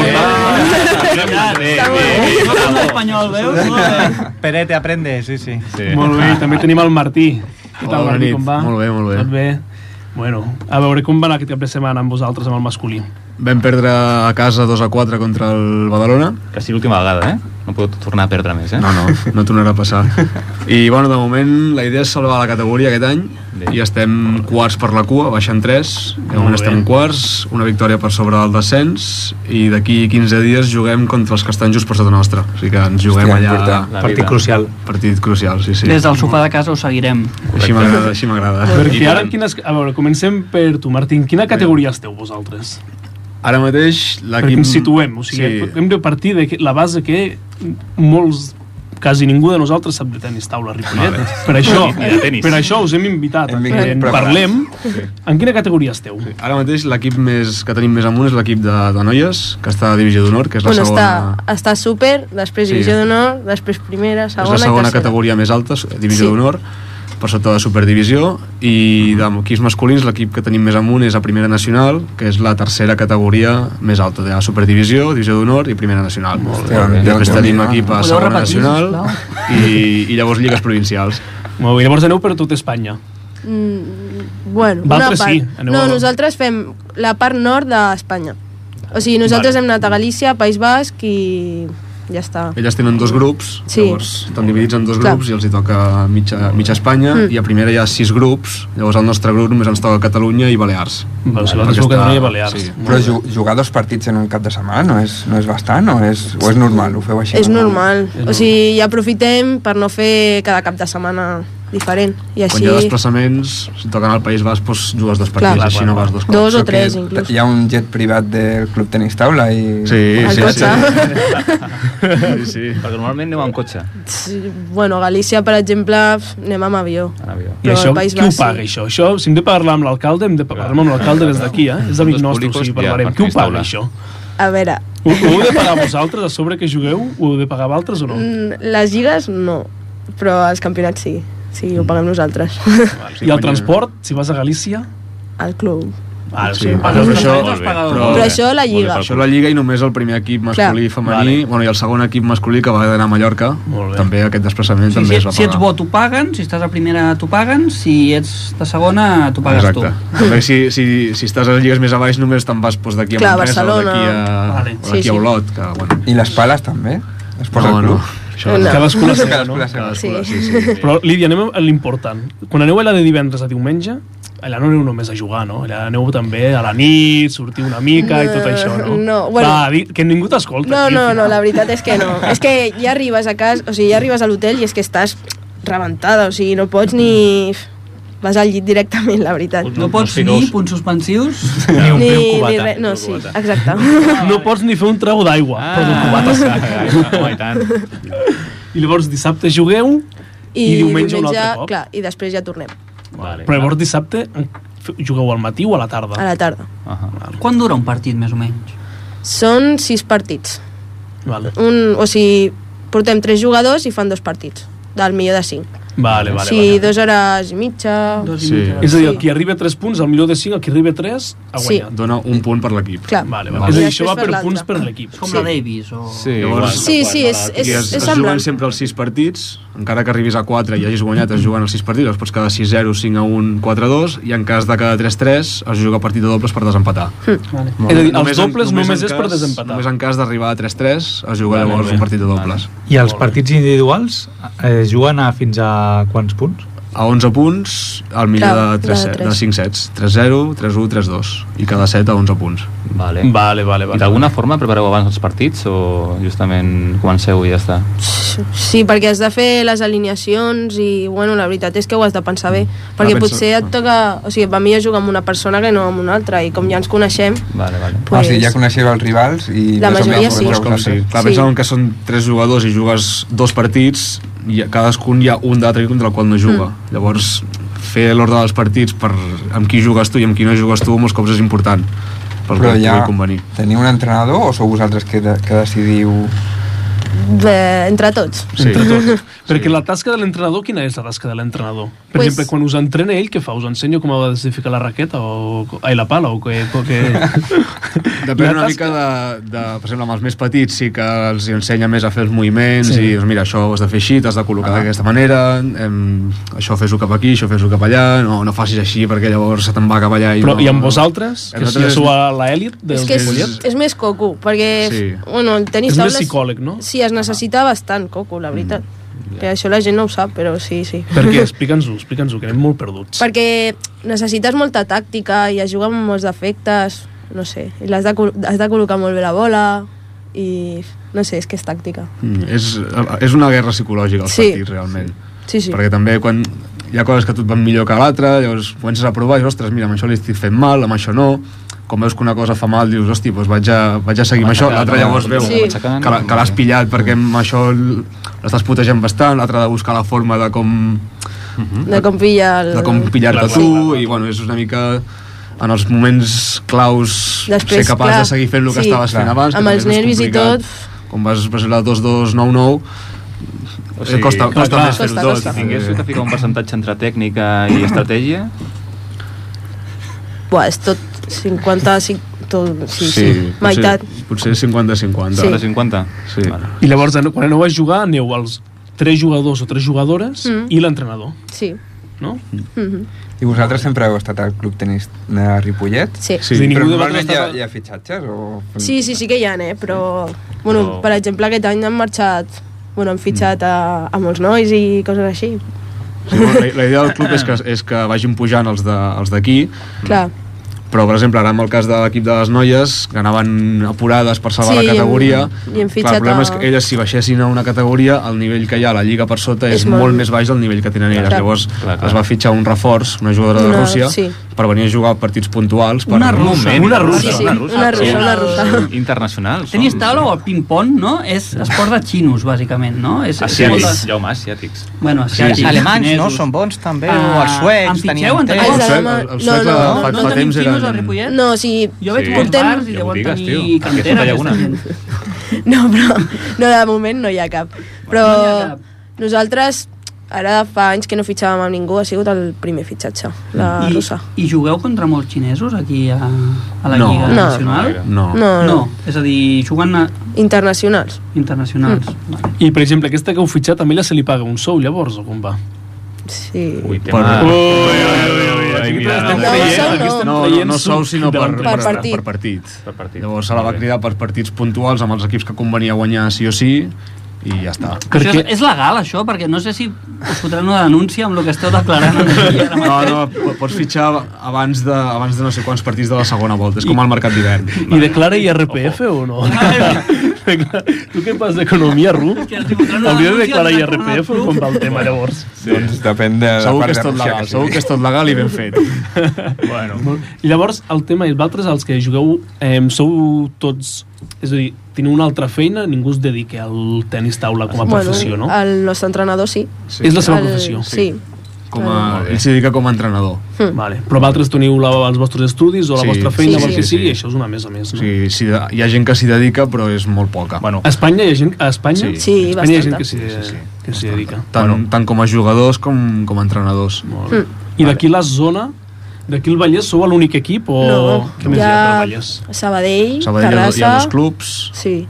Speaker 8: bé.
Speaker 2: important.
Speaker 4: No com l'espanyol, veus?
Speaker 6: Perete, aprende, sí, sí.
Speaker 3: Sí.
Speaker 2: Molt bé, i també tenim el Martí. Què
Speaker 9: Hola,
Speaker 2: tal,
Speaker 9: bona
Speaker 2: Martí,
Speaker 9: nit.
Speaker 2: com va?
Speaker 9: Molt bé, molt bé.
Speaker 2: Tot bé? Bueno, a veure, com va anar aquest cap de setmana amb vosaltres, amb el masculí?
Speaker 9: Vam perdre a casa 2 a 4 contra el Badalona.
Speaker 3: Que sigui l'última vegada, eh? No puc tornar a perdre més, eh?
Speaker 9: No, no, no tornarà a passar. I, bueno, de moment la idea és salvar la categoria aquest any
Speaker 3: Bé.
Speaker 9: i estem quarts per la cua, baixant 3. De
Speaker 2: Molt
Speaker 9: moment
Speaker 2: bé.
Speaker 9: estem quarts, una victòria per sobre del descens i d'aquí 15 dies juguem contra els que estan just per sota nostra. O sigui que ens juguem
Speaker 1: Hòstia,
Speaker 9: allà
Speaker 1: important.
Speaker 3: La
Speaker 5: partit
Speaker 3: vida.
Speaker 5: crucial.
Speaker 9: partit crucial, sí, sí.
Speaker 4: Des del sofà de casa ho seguirem.
Speaker 9: Així m'agrada, així m'agrada.
Speaker 2: Perquè
Speaker 3: I
Speaker 2: ara,
Speaker 3: tant.
Speaker 2: quines, a veure, comencem per tu, Martín. Quina categoria esteu vosaltres?
Speaker 9: Ara mateix
Speaker 2: Perquè
Speaker 9: l'equip...
Speaker 2: ens situem, o sigui, sí. hem de partir de que- la base que molts quasi ningú de nosaltres sap de tenis taula Ripollet.
Speaker 9: Vale.
Speaker 2: Per això,
Speaker 3: Ni de tenis.
Speaker 2: per això us hem invitat
Speaker 1: Hem
Speaker 2: a
Speaker 1: vingut
Speaker 2: que en
Speaker 1: preparats.
Speaker 2: parlem. En quina categoria esteu?
Speaker 9: Ara mateix l'equip més que tenim més amunt és l'equip de, de noies, que està a Divisió d'Honor, que és la
Speaker 8: bueno,
Speaker 9: segona...
Speaker 8: està, està súper, després
Speaker 9: Sí.
Speaker 8: divisió d'honor, després primera, segona,
Speaker 9: és la segona
Speaker 8: i tercera.
Speaker 9: categoria més alta, su- Divisió
Speaker 8: Sí.
Speaker 9: d'Honor, per sota de Superdivisió, i d'equips masculins l'equip que tenim més amunt és a Primera Nacional, que és la tercera categoria més alta, de Superdivisió, Divisió d'Honor i Primera Nacional. Molt
Speaker 1: bé. Déu-
Speaker 9: Després
Speaker 1: Déu
Speaker 9: tenim
Speaker 1: n'hi do.
Speaker 9: l'equip a
Speaker 4: Podeu
Speaker 9: Segona
Speaker 4: repetir,
Speaker 9: Nacional i, i llavors Lligues Provincials.
Speaker 2: Molt bé, llavors aneu per tot Espanya.
Speaker 8: Mm, bueno,
Speaker 2: Valtres
Speaker 8: una part.
Speaker 2: sí, aneu
Speaker 8: no,
Speaker 2: a-
Speaker 8: nosaltres fem la part nord d'Espanya. O sigui, nosaltres
Speaker 2: Vale.
Speaker 8: hem anat a Galícia, País Basc i ja està.
Speaker 9: Elles tenen dos grups,
Speaker 8: Sí.
Speaker 9: llavors estan dividits en dos
Speaker 8: Clar.
Speaker 9: grups i els hi toca mitja, mitja Espanya
Speaker 8: Mm.
Speaker 9: i a primera hi ha sis grups, llavors al nostre grup només ens toca Catalunya i Balears.
Speaker 2: Vale, si
Speaker 9: Perquè
Speaker 2: l'altre és
Speaker 9: està-
Speaker 2: Catalunya i Balears.
Speaker 9: sí.
Speaker 1: Però ju jugar dos partits en un cap de setmana no és, no és bastant o és, o és normal? Ho feu així?
Speaker 8: és normal.
Speaker 2: És
Speaker 8: O sigui, ja aprofitem per no fer cada cap de setmana diferent. I
Speaker 9: Quan
Speaker 8: així...
Speaker 9: hi ha desplaçaments, si toquen al País Basc, doncs jugues dos partits,
Speaker 8: Clar.
Speaker 9: així
Speaker 2: Clar,
Speaker 9: no
Speaker 2: clar,
Speaker 9: vas dos cops.
Speaker 8: Dos o
Speaker 1: Això que
Speaker 8: tres, inclús.
Speaker 1: Hi ha un jet privat del club tenis taula i...
Speaker 9: Sí,
Speaker 8: El
Speaker 9: sí,
Speaker 8: cotxe.
Speaker 9: sí. sí, sí.
Speaker 3: Perquè normalment aneu amb cotxe.
Speaker 8: Sí, Bueno, a Galícia, per exemple, pf, anem amb avió.
Speaker 3: En avió.
Speaker 2: I
Speaker 8: Però
Speaker 2: això,
Speaker 8: el País
Speaker 2: qui ho
Speaker 8: Basc sí.
Speaker 2: paga, això? això? Si hem de parlar amb l'alcalde, hem de parlar amb l'alcalde des d'aquí, eh? És amic
Speaker 3: Dos
Speaker 2: nostre, o
Speaker 3: públicos
Speaker 2: sigui,
Speaker 3: i a
Speaker 2: parlarem.
Speaker 3: Martí
Speaker 2: Qui ho paga,
Speaker 3: Estaula.
Speaker 2: això?
Speaker 8: A veure,
Speaker 2: Ho, ho heu de pagar vosaltres, a sobre que jugueu? Ho heu de pagar altres o no?
Speaker 8: mm, les lligues no, però els campionats sí. Sí, ho paguem nosaltres.
Speaker 2: I el transport, si vas a Galícia?
Speaker 8: Al club.
Speaker 2: Ah,
Speaker 9: Sí,
Speaker 2: sí,
Speaker 9: però
Speaker 2: pagues
Speaker 9: això-
Speaker 3: Molt bé,
Speaker 9: però-
Speaker 8: Però això la lliga.
Speaker 3: Molt bé,
Speaker 9: Això la Lliga i només el primer equip masculí i femení,
Speaker 2: Vale.
Speaker 9: bueno, i el segon equip masculí que va d'anar a Mallorca,
Speaker 2: Molt bé.
Speaker 9: també aquest desplaçament
Speaker 4: Sí,
Speaker 9: també
Speaker 4: si,
Speaker 9: es va
Speaker 4: si ets
Speaker 9: pagar.
Speaker 4: bo t'ho paguen, si estàs a primera t'ho paguen, si ets de segona t'ho pagues
Speaker 9: Exacte. També si, si, si estàs a les lligues més a baix només te'n vas doncs, d'aquí a
Speaker 8: Clar,
Speaker 9: Manresa o
Speaker 8: Barcelona.
Speaker 9: d'aquí a,
Speaker 4: Vale.
Speaker 9: o d'aquí
Speaker 8: Sí,
Speaker 9: a
Speaker 8: sí.
Speaker 9: Olot, que bueno...
Speaker 1: I les pales també? Es posa
Speaker 9: no,
Speaker 1: el
Speaker 9: no,
Speaker 1: club?
Speaker 9: això
Speaker 8: No.
Speaker 2: Cadascú la
Speaker 1: Sí,
Speaker 2: seva,
Speaker 1: cadascú
Speaker 2: no?
Speaker 1: la seva.
Speaker 8: Sí.
Speaker 9: Cadascú, sí, sí.
Speaker 2: Però, Lídia, anem a l'important. Quan aneu allà de divendres a diumenge, allà no aneu només a jugar, no? Allà aneu també a la nit, sortiu una mica i tot
Speaker 8: No,
Speaker 2: això, no?
Speaker 8: no, bueno-
Speaker 2: Va, di- que ningú t'escolta.
Speaker 8: No,
Speaker 2: aquí,
Speaker 8: no,
Speaker 2: al
Speaker 8: no, la
Speaker 2: final.
Speaker 8: veritat és que no. És que ja arribes a casa, o sigui, ja arribes a l'hotel i és que estàs rebentada, o sigui, no pots ni... Vas al llit directament, la veritat.
Speaker 4: tu. No pots
Speaker 5: sí,
Speaker 4: ni
Speaker 5: dos.
Speaker 4: punts suspensius.
Speaker 5: Ni un, ni, un
Speaker 8: ni
Speaker 5: cubata.
Speaker 8: res, no, sí, exacte.
Speaker 2: No pots ni fer un trago d'aigua. Ah. Però d'un cubata sí.
Speaker 3: Home, i tant.
Speaker 2: I llavors dissabte jugueu, I diumenge un altre cop?
Speaker 8: Clar, i després ja tornem,
Speaker 3: Vale.
Speaker 2: però llavors dissabte f- jugueu al matí o a la tarda.
Speaker 8: a la tarda.
Speaker 4: Quan dura un partit, més o menys?
Speaker 8: Són sis partits.
Speaker 2: Vale,
Speaker 8: Un, o sigui, portem tres jugadors i fan dos partits, del millor de cinc.
Speaker 2: vale, vale.
Speaker 8: sí,
Speaker 2: vale.
Speaker 8: dues hores i mitja...
Speaker 4: Dos
Speaker 9: Sí.
Speaker 4: i mitja.
Speaker 2: És a dir, el
Speaker 8: sí.
Speaker 2: qui arriba a 3 punts, el millor de 5, el qui arriba a 3, ha
Speaker 8: Sí.
Speaker 2: guanyat.
Speaker 9: Dona un punt per l'equip.
Speaker 8: Clar.
Speaker 2: Vale,
Speaker 9: Vale.
Speaker 2: vale. És a
Speaker 8: I
Speaker 2: dir, això
Speaker 8: després
Speaker 2: va
Speaker 8: per
Speaker 2: per
Speaker 8: l'altre.
Speaker 2: punts per l'equip.
Speaker 4: És com la Davis o...
Speaker 3: Sí,
Speaker 9: Llavors,
Speaker 8: Sí, sí, és, és,
Speaker 9: I es,
Speaker 8: és
Speaker 9: es juguen
Speaker 8: semblant.
Speaker 9: sempre els 6 partits, encara que arribis a 4 i hagis guanyat, es juguen els 6 partits, doncs, es pots quedar 6-0, 5-1, 4-2, i en cas de cada 3-3 es juga partit de dobles per desempatar.
Speaker 4: Vale.
Speaker 2: És a dir, els
Speaker 9: Només en-
Speaker 2: dobles només,
Speaker 9: en
Speaker 2: és per
Speaker 9: cas-
Speaker 2: desempatar.
Speaker 9: Només en cas d'arribar a 3-3 es juga
Speaker 3: Vale,
Speaker 9: llavors
Speaker 3: vale.
Speaker 9: un partit de dobles.
Speaker 5: I els partits individuals eh, juguen a fins a quants punts?
Speaker 9: A 11 punts, el millor
Speaker 8: Clar,
Speaker 9: de, 3,
Speaker 8: de tres.
Speaker 9: de 5 sets. 3-0, 3-1, 3-2. I cada set a 11 punts.
Speaker 3: Vale.
Speaker 2: Vale, vale,
Speaker 3: I
Speaker 2: vale.
Speaker 3: d'alguna forma prepareu abans els partits o justament comenceu i ja està?
Speaker 8: Sí, perquè has de fer les alineacions i, bueno, la veritat és que ho has de pensar bé. Perquè
Speaker 9: pensa-
Speaker 8: potser et toca... O sigui, va millor jugar amb una persona que no amb una altra i com ja ens coneixem,
Speaker 3: Vale, vale.
Speaker 8: pues,
Speaker 1: Pues... Ah, sí, ja coneixeu els rivals i...
Speaker 8: La
Speaker 1: més o
Speaker 8: majoria
Speaker 1: menys
Speaker 8: sí.
Speaker 1: us
Speaker 9: És com
Speaker 1: vosaltres.
Speaker 9: si, clar,
Speaker 8: Sí.
Speaker 9: pensàvem que són 3 jugadors i jugues dos partits i a cadascun hi ha un d'altre contra el qual no juga.
Speaker 8: Mm.
Speaker 9: Llavors, fer l'ordre dels partits per amb qui jugues tu i amb qui no jugues tu molts cops és important pel
Speaker 1: Però
Speaker 9: que et
Speaker 1: ja
Speaker 9: pugui convenir.
Speaker 1: teniu un entrenador o sou vosaltres que, de, que decidiu...
Speaker 8: de, eh, entre tots.
Speaker 9: Sí.
Speaker 2: Perquè la tasca de l'entrenador, quina és la tasca de l'entrenador? Per
Speaker 8: Pues-
Speaker 2: exemple, quan us entrena ell, què fa? Us ensenya com ha de ficar la raqueta o... Ai, la pala o què? O què...
Speaker 9: Depèn
Speaker 2: La
Speaker 9: una
Speaker 2: tasca-
Speaker 9: mica de, de, per exemple, amb els més petits sí que els hi ensenya més a fer els moviments sí. i doncs mira, això ho has de fer així, t'has de col·locar ah. d'aquesta manera, em, això fes-ho cap aquí, això fes-ho cap allà, no, no facis així perquè llavors se te'n va cap allà i
Speaker 2: Però,
Speaker 9: no...
Speaker 2: I amb vosaltres, que si
Speaker 9: Nosaltres-
Speaker 2: ja sou a l'elit del
Speaker 8: és que és,
Speaker 2: Ripollet,
Speaker 8: és més coco, perquè
Speaker 9: Sí.
Speaker 8: f- bueno, el tenis
Speaker 2: és més
Speaker 8: taules...
Speaker 2: psicòleg, no?
Speaker 8: Sí, es necessita bastant coco, la veritat. Que això la gent no ho sap, però sí, sí.
Speaker 2: Per què? Explica'ns-ho, explica'ns-ho, que anem molt perduts.
Speaker 8: Perquè necessites molta tàctica i es juga amb molts defectes, no sé, i l'has de, col- has de col·locar molt bé la bola i no sé, és que és tàctica.
Speaker 9: Mm, és, és una guerra psicològica als
Speaker 8: Sí.
Speaker 9: sí. partits, realment.
Speaker 8: Sí, sí.
Speaker 9: Perquè també quan hi ha coses que a tu et van millor que a l'altra, llavors comences a provar i dius, ostres, mira, amb això li estic fent mal, amb això no, com veus que una cosa fa mal, dius, hosti, doncs vaig a, vaig a seguir amb això, l'altra llavors veu
Speaker 8: Sí.
Speaker 9: que, la- que l'has pillat perquè amb això l- l'estàs putejant bastant, l'altra ha de buscar la forma de com,
Speaker 8: De com pilla el...
Speaker 9: Mm? de com pillar-te tu, i bueno, és una mica en els moments claus
Speaker 8: Després,
Speaker 9: ser capaç
Speaker 8: clar,
Speaker 9: de seguir fent el que
Speaker 8: sí.
Speaker 9: estaves fent
Speaker 1: Clar.
Speaker 9: abans. que
Speaker 8: Amb
Speaker 9: també
Speaker 8: els
Speaker 9: és més
Speaker 8: nervis i
Speaker 9: complicat.
Speaker 8: tot.
Speaker 9: Quan vas, per exemple, 2-2, 9-9, o sigui, costa,
Speaker 3: clar,
Speaker 9: costa
Speaker 2: clar.
Speaker 9: més fer-ho
Speaker 8: Costa,
Speaker 9: tot.
Speaker 8: costa.
Speaker 3: Si tinguéssiu
Speaker 9: Eh,
Speaker 3: de ficar un percentatge entre tècnica i estratègia,
Speaker 8: Buah, és tot 50... cinc- Tot, sí, sí, sí.
Speaker 9: potser,
Speaker 8: meitat.
Speaker 9: potser 50-50.
Speaker 8: Sí.
Speaker 3: de 50?
Speaker 9: Doncs Sí.
Speaker 3: Vale.
Speaker 2: I llavors, an- quan aneu a jugar, aneu als tres jugadors o tres jugadores
Speaker 8: Mm.
Speaker 2: i l'entrenador.
Speaker 8: Sí.
Speaker 2: no?
Speaker 8: Mhm.
Speaker 1: I vosaltres sempre heu estat al club tenis de Ripollet?
Speaker 8: Sí.
Speaker 9: Sí.
Speaker 2: És a dir,
Speaker 1: Però
Speaker 2: ningú de
Speaker 1: normalment hi ha,
Speaker 2: vosaltres
Speaker 1: hi ha fitxatges? O...
Speaker 8: Sí, sí, sí que hi ha, eh? Però, bueno,
Speaker 3: Però-
Speaker 8: per exemple, aquest any han marxat... Bueno, han fitxat a, a molts nois i coses així.
Speaker 9: Mm. Sí, bueno, la, la idea del club és que, és que vagin pujant els de- els d'aquí,
Speaker 8: Clar.
Speaker 9: però, per exemple, ara amb el cas de l'equip de les noies, que anaven apurades per salvar
Speaker 8: Sí,
Speaker 9: la categoria,
Speaker 8: i hem- i hem
Speaker 9: clar,
Speaker 8: fitxat
Speaker 9: el problema
Speaker 8: a-
Speaker 9: és que elles, si baixessin a una categoria, el nivell que hi ha a la lliga per sota és,
Speaker 8: És
Speaker 9: molt...
Speaker 8: molt-
Speaker 9: més baix del nivell que tenen elles.
Speaker 8: Clar.
Speaker 9: Llavors,
Speaker 3: Clar, clar.
Speaker 9: es va fitxar un reforç, una jugadora de
Speaker 8: Una-
Speaker 9: Rússia,
Speaker 8: sí.
Speaker 9: per venir a jugar partits puntuals. Per...
Speaker 4: Una russa.
Speaker 3: Moment,
Speaker 2: Una russa.
Speaker 8: Sí, sí, una russa, una russa.
Speaker 3: Som Internacional. som.
Speaker 4: Tenis taula o el ping-pong, no? És esport de xinos, bàsicament, no? És, és molt
Speaker 3: Asiàtics,
Speaker 4: de-
Speaker 3: ja home, asiàtics.
Speaker 4: Bueno,
Speaker 6: Els
Speaker 4: asiàtics,
Speaker 6: alemanys, no?
Speaker 4: xinesos.
Speaker 6: Són bons, també.
Speaker 4: Ah,
Speaker 6: o els suecs,
Speaker 4: en pitxeu,
Speaker 6: tenien
Speaker 4: en
Speaker 6: temps.
Speaker 8: Els
Speaker 9: Eh, El
Speaker 8: de
Speaker 9: suec,
Speaker 8: demà-
Speaker 9: el, el
Speaker 8: no,
Speaker 9: suec,
Speaker 8: no, no,
Speaker 9: eh, fa,
Speaker 4: Oh, no
Speaker 9: fa
Speaker 4: tenim
Speaker 9: temps
Speaker 4: xinos al
Speaker 9: eren...
Speaker 4: Ripollet?
Speaker 8: No, o sigui,
Speaker 4: Jo veig
Speaker 3: Sí.
Speaker 4: molts
Speaker 8: Portem-
Speaker 4: bars i
Speaker 3: Ja
Speaker 4: deuen
Speaker 3: m'ho digues,
Speaker 4: tenir
Speaker 3: tio.
Speaker 4: cantera.
Speaker 3: Aquesta llaguna.
Speaker 4: aquesta gent.
Speaker 8: No, però no, de moment no hi ha cap. Però
Speaker 4: No hi ha cap.
Speaker 8: nosaltres ara fa anys que no fitxàvem amb ningú, ha sigut el primer fitxatge, la
Speaker 4: I,
Speaker 8: russa.
Speaker 4: I jugueu contra molts xinesos aquí a, a la
Speaker 9: No.
Speaker 4: Lliga
Speaker 8: No.
Speaker 4: Nacional?
Speaker 9: No.
Speaker 8: No, no,
Speaker 4: és a dir, juguen a
Speaker 8: internacionals.
Speaker 4: internacionals.
Speaker 8: Mm.
Speaker 4: Vale.
Speaker 2: I, per exemple, aquesta que heu fitxat, a ella se li paga un sou, llavors, o com va?
Speaker 8: Sí.
Speaker 3: Ui, tema...
Speaker 9: Per-
Speaker 3: Ai, mira,
Speaker 8: No, sou no.
Speaker 9: No, no, no sou, sinó per,
Speaker 2: Per
Speaker 9: per, per,
Speaker 8: partit.
Speaker 9: per partit.
Speaker 3: Per partit.
Speaker 9: Llavors se la va
Speaker 3: Molt bé.
Speaker 9: cridar per partits puntuals amb els equips que convenia guanyar sí o sí i ja està.
Speaker 4: Perquè... Això és, és legal, això? Perquè no sé si us fotran una denúncia amb el que esteu declarant. aquí ara
Speaker 9: No,
Speaker 4: mateix.
Speaker 9: no, po- pots fitxar abans de, abans de no sé quants partits de la segona volta, és com el mercat d'hivern.
Speaker 2: I declara IRPF o no? Declara- tu què fas d'economia, Ru?
Speaker 4: Que els hi fotran una
Speaker 2: Hauria de
Speaker 4: denúncia,
Speaker 2: declarar
Speaker 4: els hi fotran
Speaker 2: IRPF o
Speaker 4: una
Speaker 2: com va el tema, llavors?
Speaker 1: sí. Doncs depèn de la
Speaker 9: Segur
Speaker 1: part
Speaker 9: que és
Speaker 1: de
Speaker 9: tot
Speaker 1: Rússia
Speaker 9: legal,
Speaker 1: que
Speaker 9: segur
Speaker 1: sigui.
Speaker 9: que és tot legal i ben fet.
Speaker 3: Bueno,
Speaker 2: I llavors, el tema és, vosaltres, els que jugueu, eh, sou tots... És a dir, teniu una altra feina, ningú es dedica al tenis taula com a professió, no?
Speaker 8: El nostre entrenador sí.
Speaker 9: Sí.
Speaker 2: És la seva
Speaker 8: el,
Speaker 2: professió.
Speaker 8: Sí. Hm.
Speaker 9: Com a, ell s'hi dedica com a entrenador.
Speaker 8: Hmm.
Speaker 2: Vale. Però vosaltres teniu la, els vostres estudis o la
Speaker 9: Sí,
Speaker 2: vostra feina,
Speaker 8: sí,
Speaker 2: o el que
Speaker 9: sí,
Speaker 2: sigui,
Speaker 9: sí.
Speaker 2: i això és una més a més.
Speaker 9: O
Speaker 2: No?
Speaker 9: sigui, si de, hi ha gent que s'hi dedica, però és molt poca.
Speaker 3: bueno,
Speaker 2: A Espanya hi ha gent... A Espanya?
Speaker 9: Sí.
Speaker 8: Sí,
Speaker 2: a Espanya hi ha gent
Speaker 8: bastanta.
Speaker 2: que s'hi
Speaker 9: Sí, sí, sí.
Speaker 2: que s'hi dedica.
Speaker 9: tant, bueno. tant com a jugadors com, com a entrenadors.
Speaker 2: Molt bé. I d'aquí la zona, d'aquí el Vallès, sou l'únic equip o
Speaker 8: No,
Speaker 2: què més hi ha del Vallès?
Speaker 8: Sabadell,
Speaker 9: Sabadell hi ha, hi
Speaker 8: Terrassa...
Speaker 9: ha dos clubs,
Speaker 8: Sí,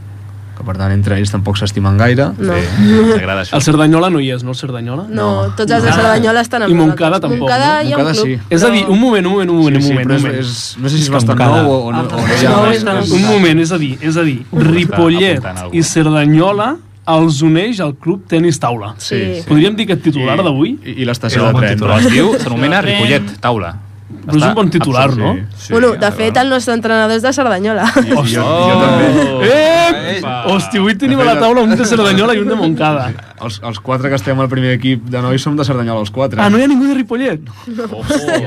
Speaker 9: que per tant entre ells tampoc s'estimen gaire.
Speaker 2: Mm.
Speaker 8: no.
Speaker 3: bé, t'agrada això.
Speaker 2: El Cerdanyola no hi és, no el Cerdanyola?
Speaker 8: No, tots els de Cerdanyola estan amb
Speaker 2: I Montcada
Speaker 8: nosaltres.
Speaker 2: tampoc,
Speaker 8: Montcada
Speaker 2: no?
Speaker 8: hi ha
Speaker 9: Montcada
Speaker 8: un club.
Speaker 9: sí.
Speaker 2: És a dir, un moment, un moment, un moment, un moment.
Speaker 9: però
Speaker 2: un
Speaker 9: és,
Speaker 2: moment.
Speaker 9: és, no sé si és
Speaker 5: És
Speaker 9: bastant
Speaker 5: Montcada.
Speaker 9: nou o, o no. O no, hi ha-
Speaker 4: No,
Speaker 9: és-
Speaker 4: és-
Speaker 9: és-
Speaker 2: Un moment, és a dir, és a dir, Ripollet
Speaker 3: apuntant algú.
Speaker 2: i Cerdanyola els uneix al club tenis taula.
Speaker 8: Sí.
Speaker 9: Sí,
Speaker 2: Podríem dir que titular d'avui,
Speaker 9: I, i l'estació de
Speaker 5: bon
Speaker 9: tren.
Speaker 3: Però
Speaker 5: titular.
Speaker 9: no?
Speaker 3: es diu, s'anomena Ripollet, taula.
Speaker 2: però és un bon titular, no?
Speaker 8: Sí, bueno, de fet, el nostre entrenador és de Cerdanyola.
Speaker 9: Hòstia, jo, jo
Speaker 3: Oh.
Speaker 9: també.
Speaker 2: Eh! Hòstia, avui tenim a la taula un de Cerdanyola i un de Montcada.
Speaker 9: Els, els quatre que estem al primer equip de nois som de Cerdanyola, els quatre.
Speaker 2: Ah, no hi ha ningú de Ripollet?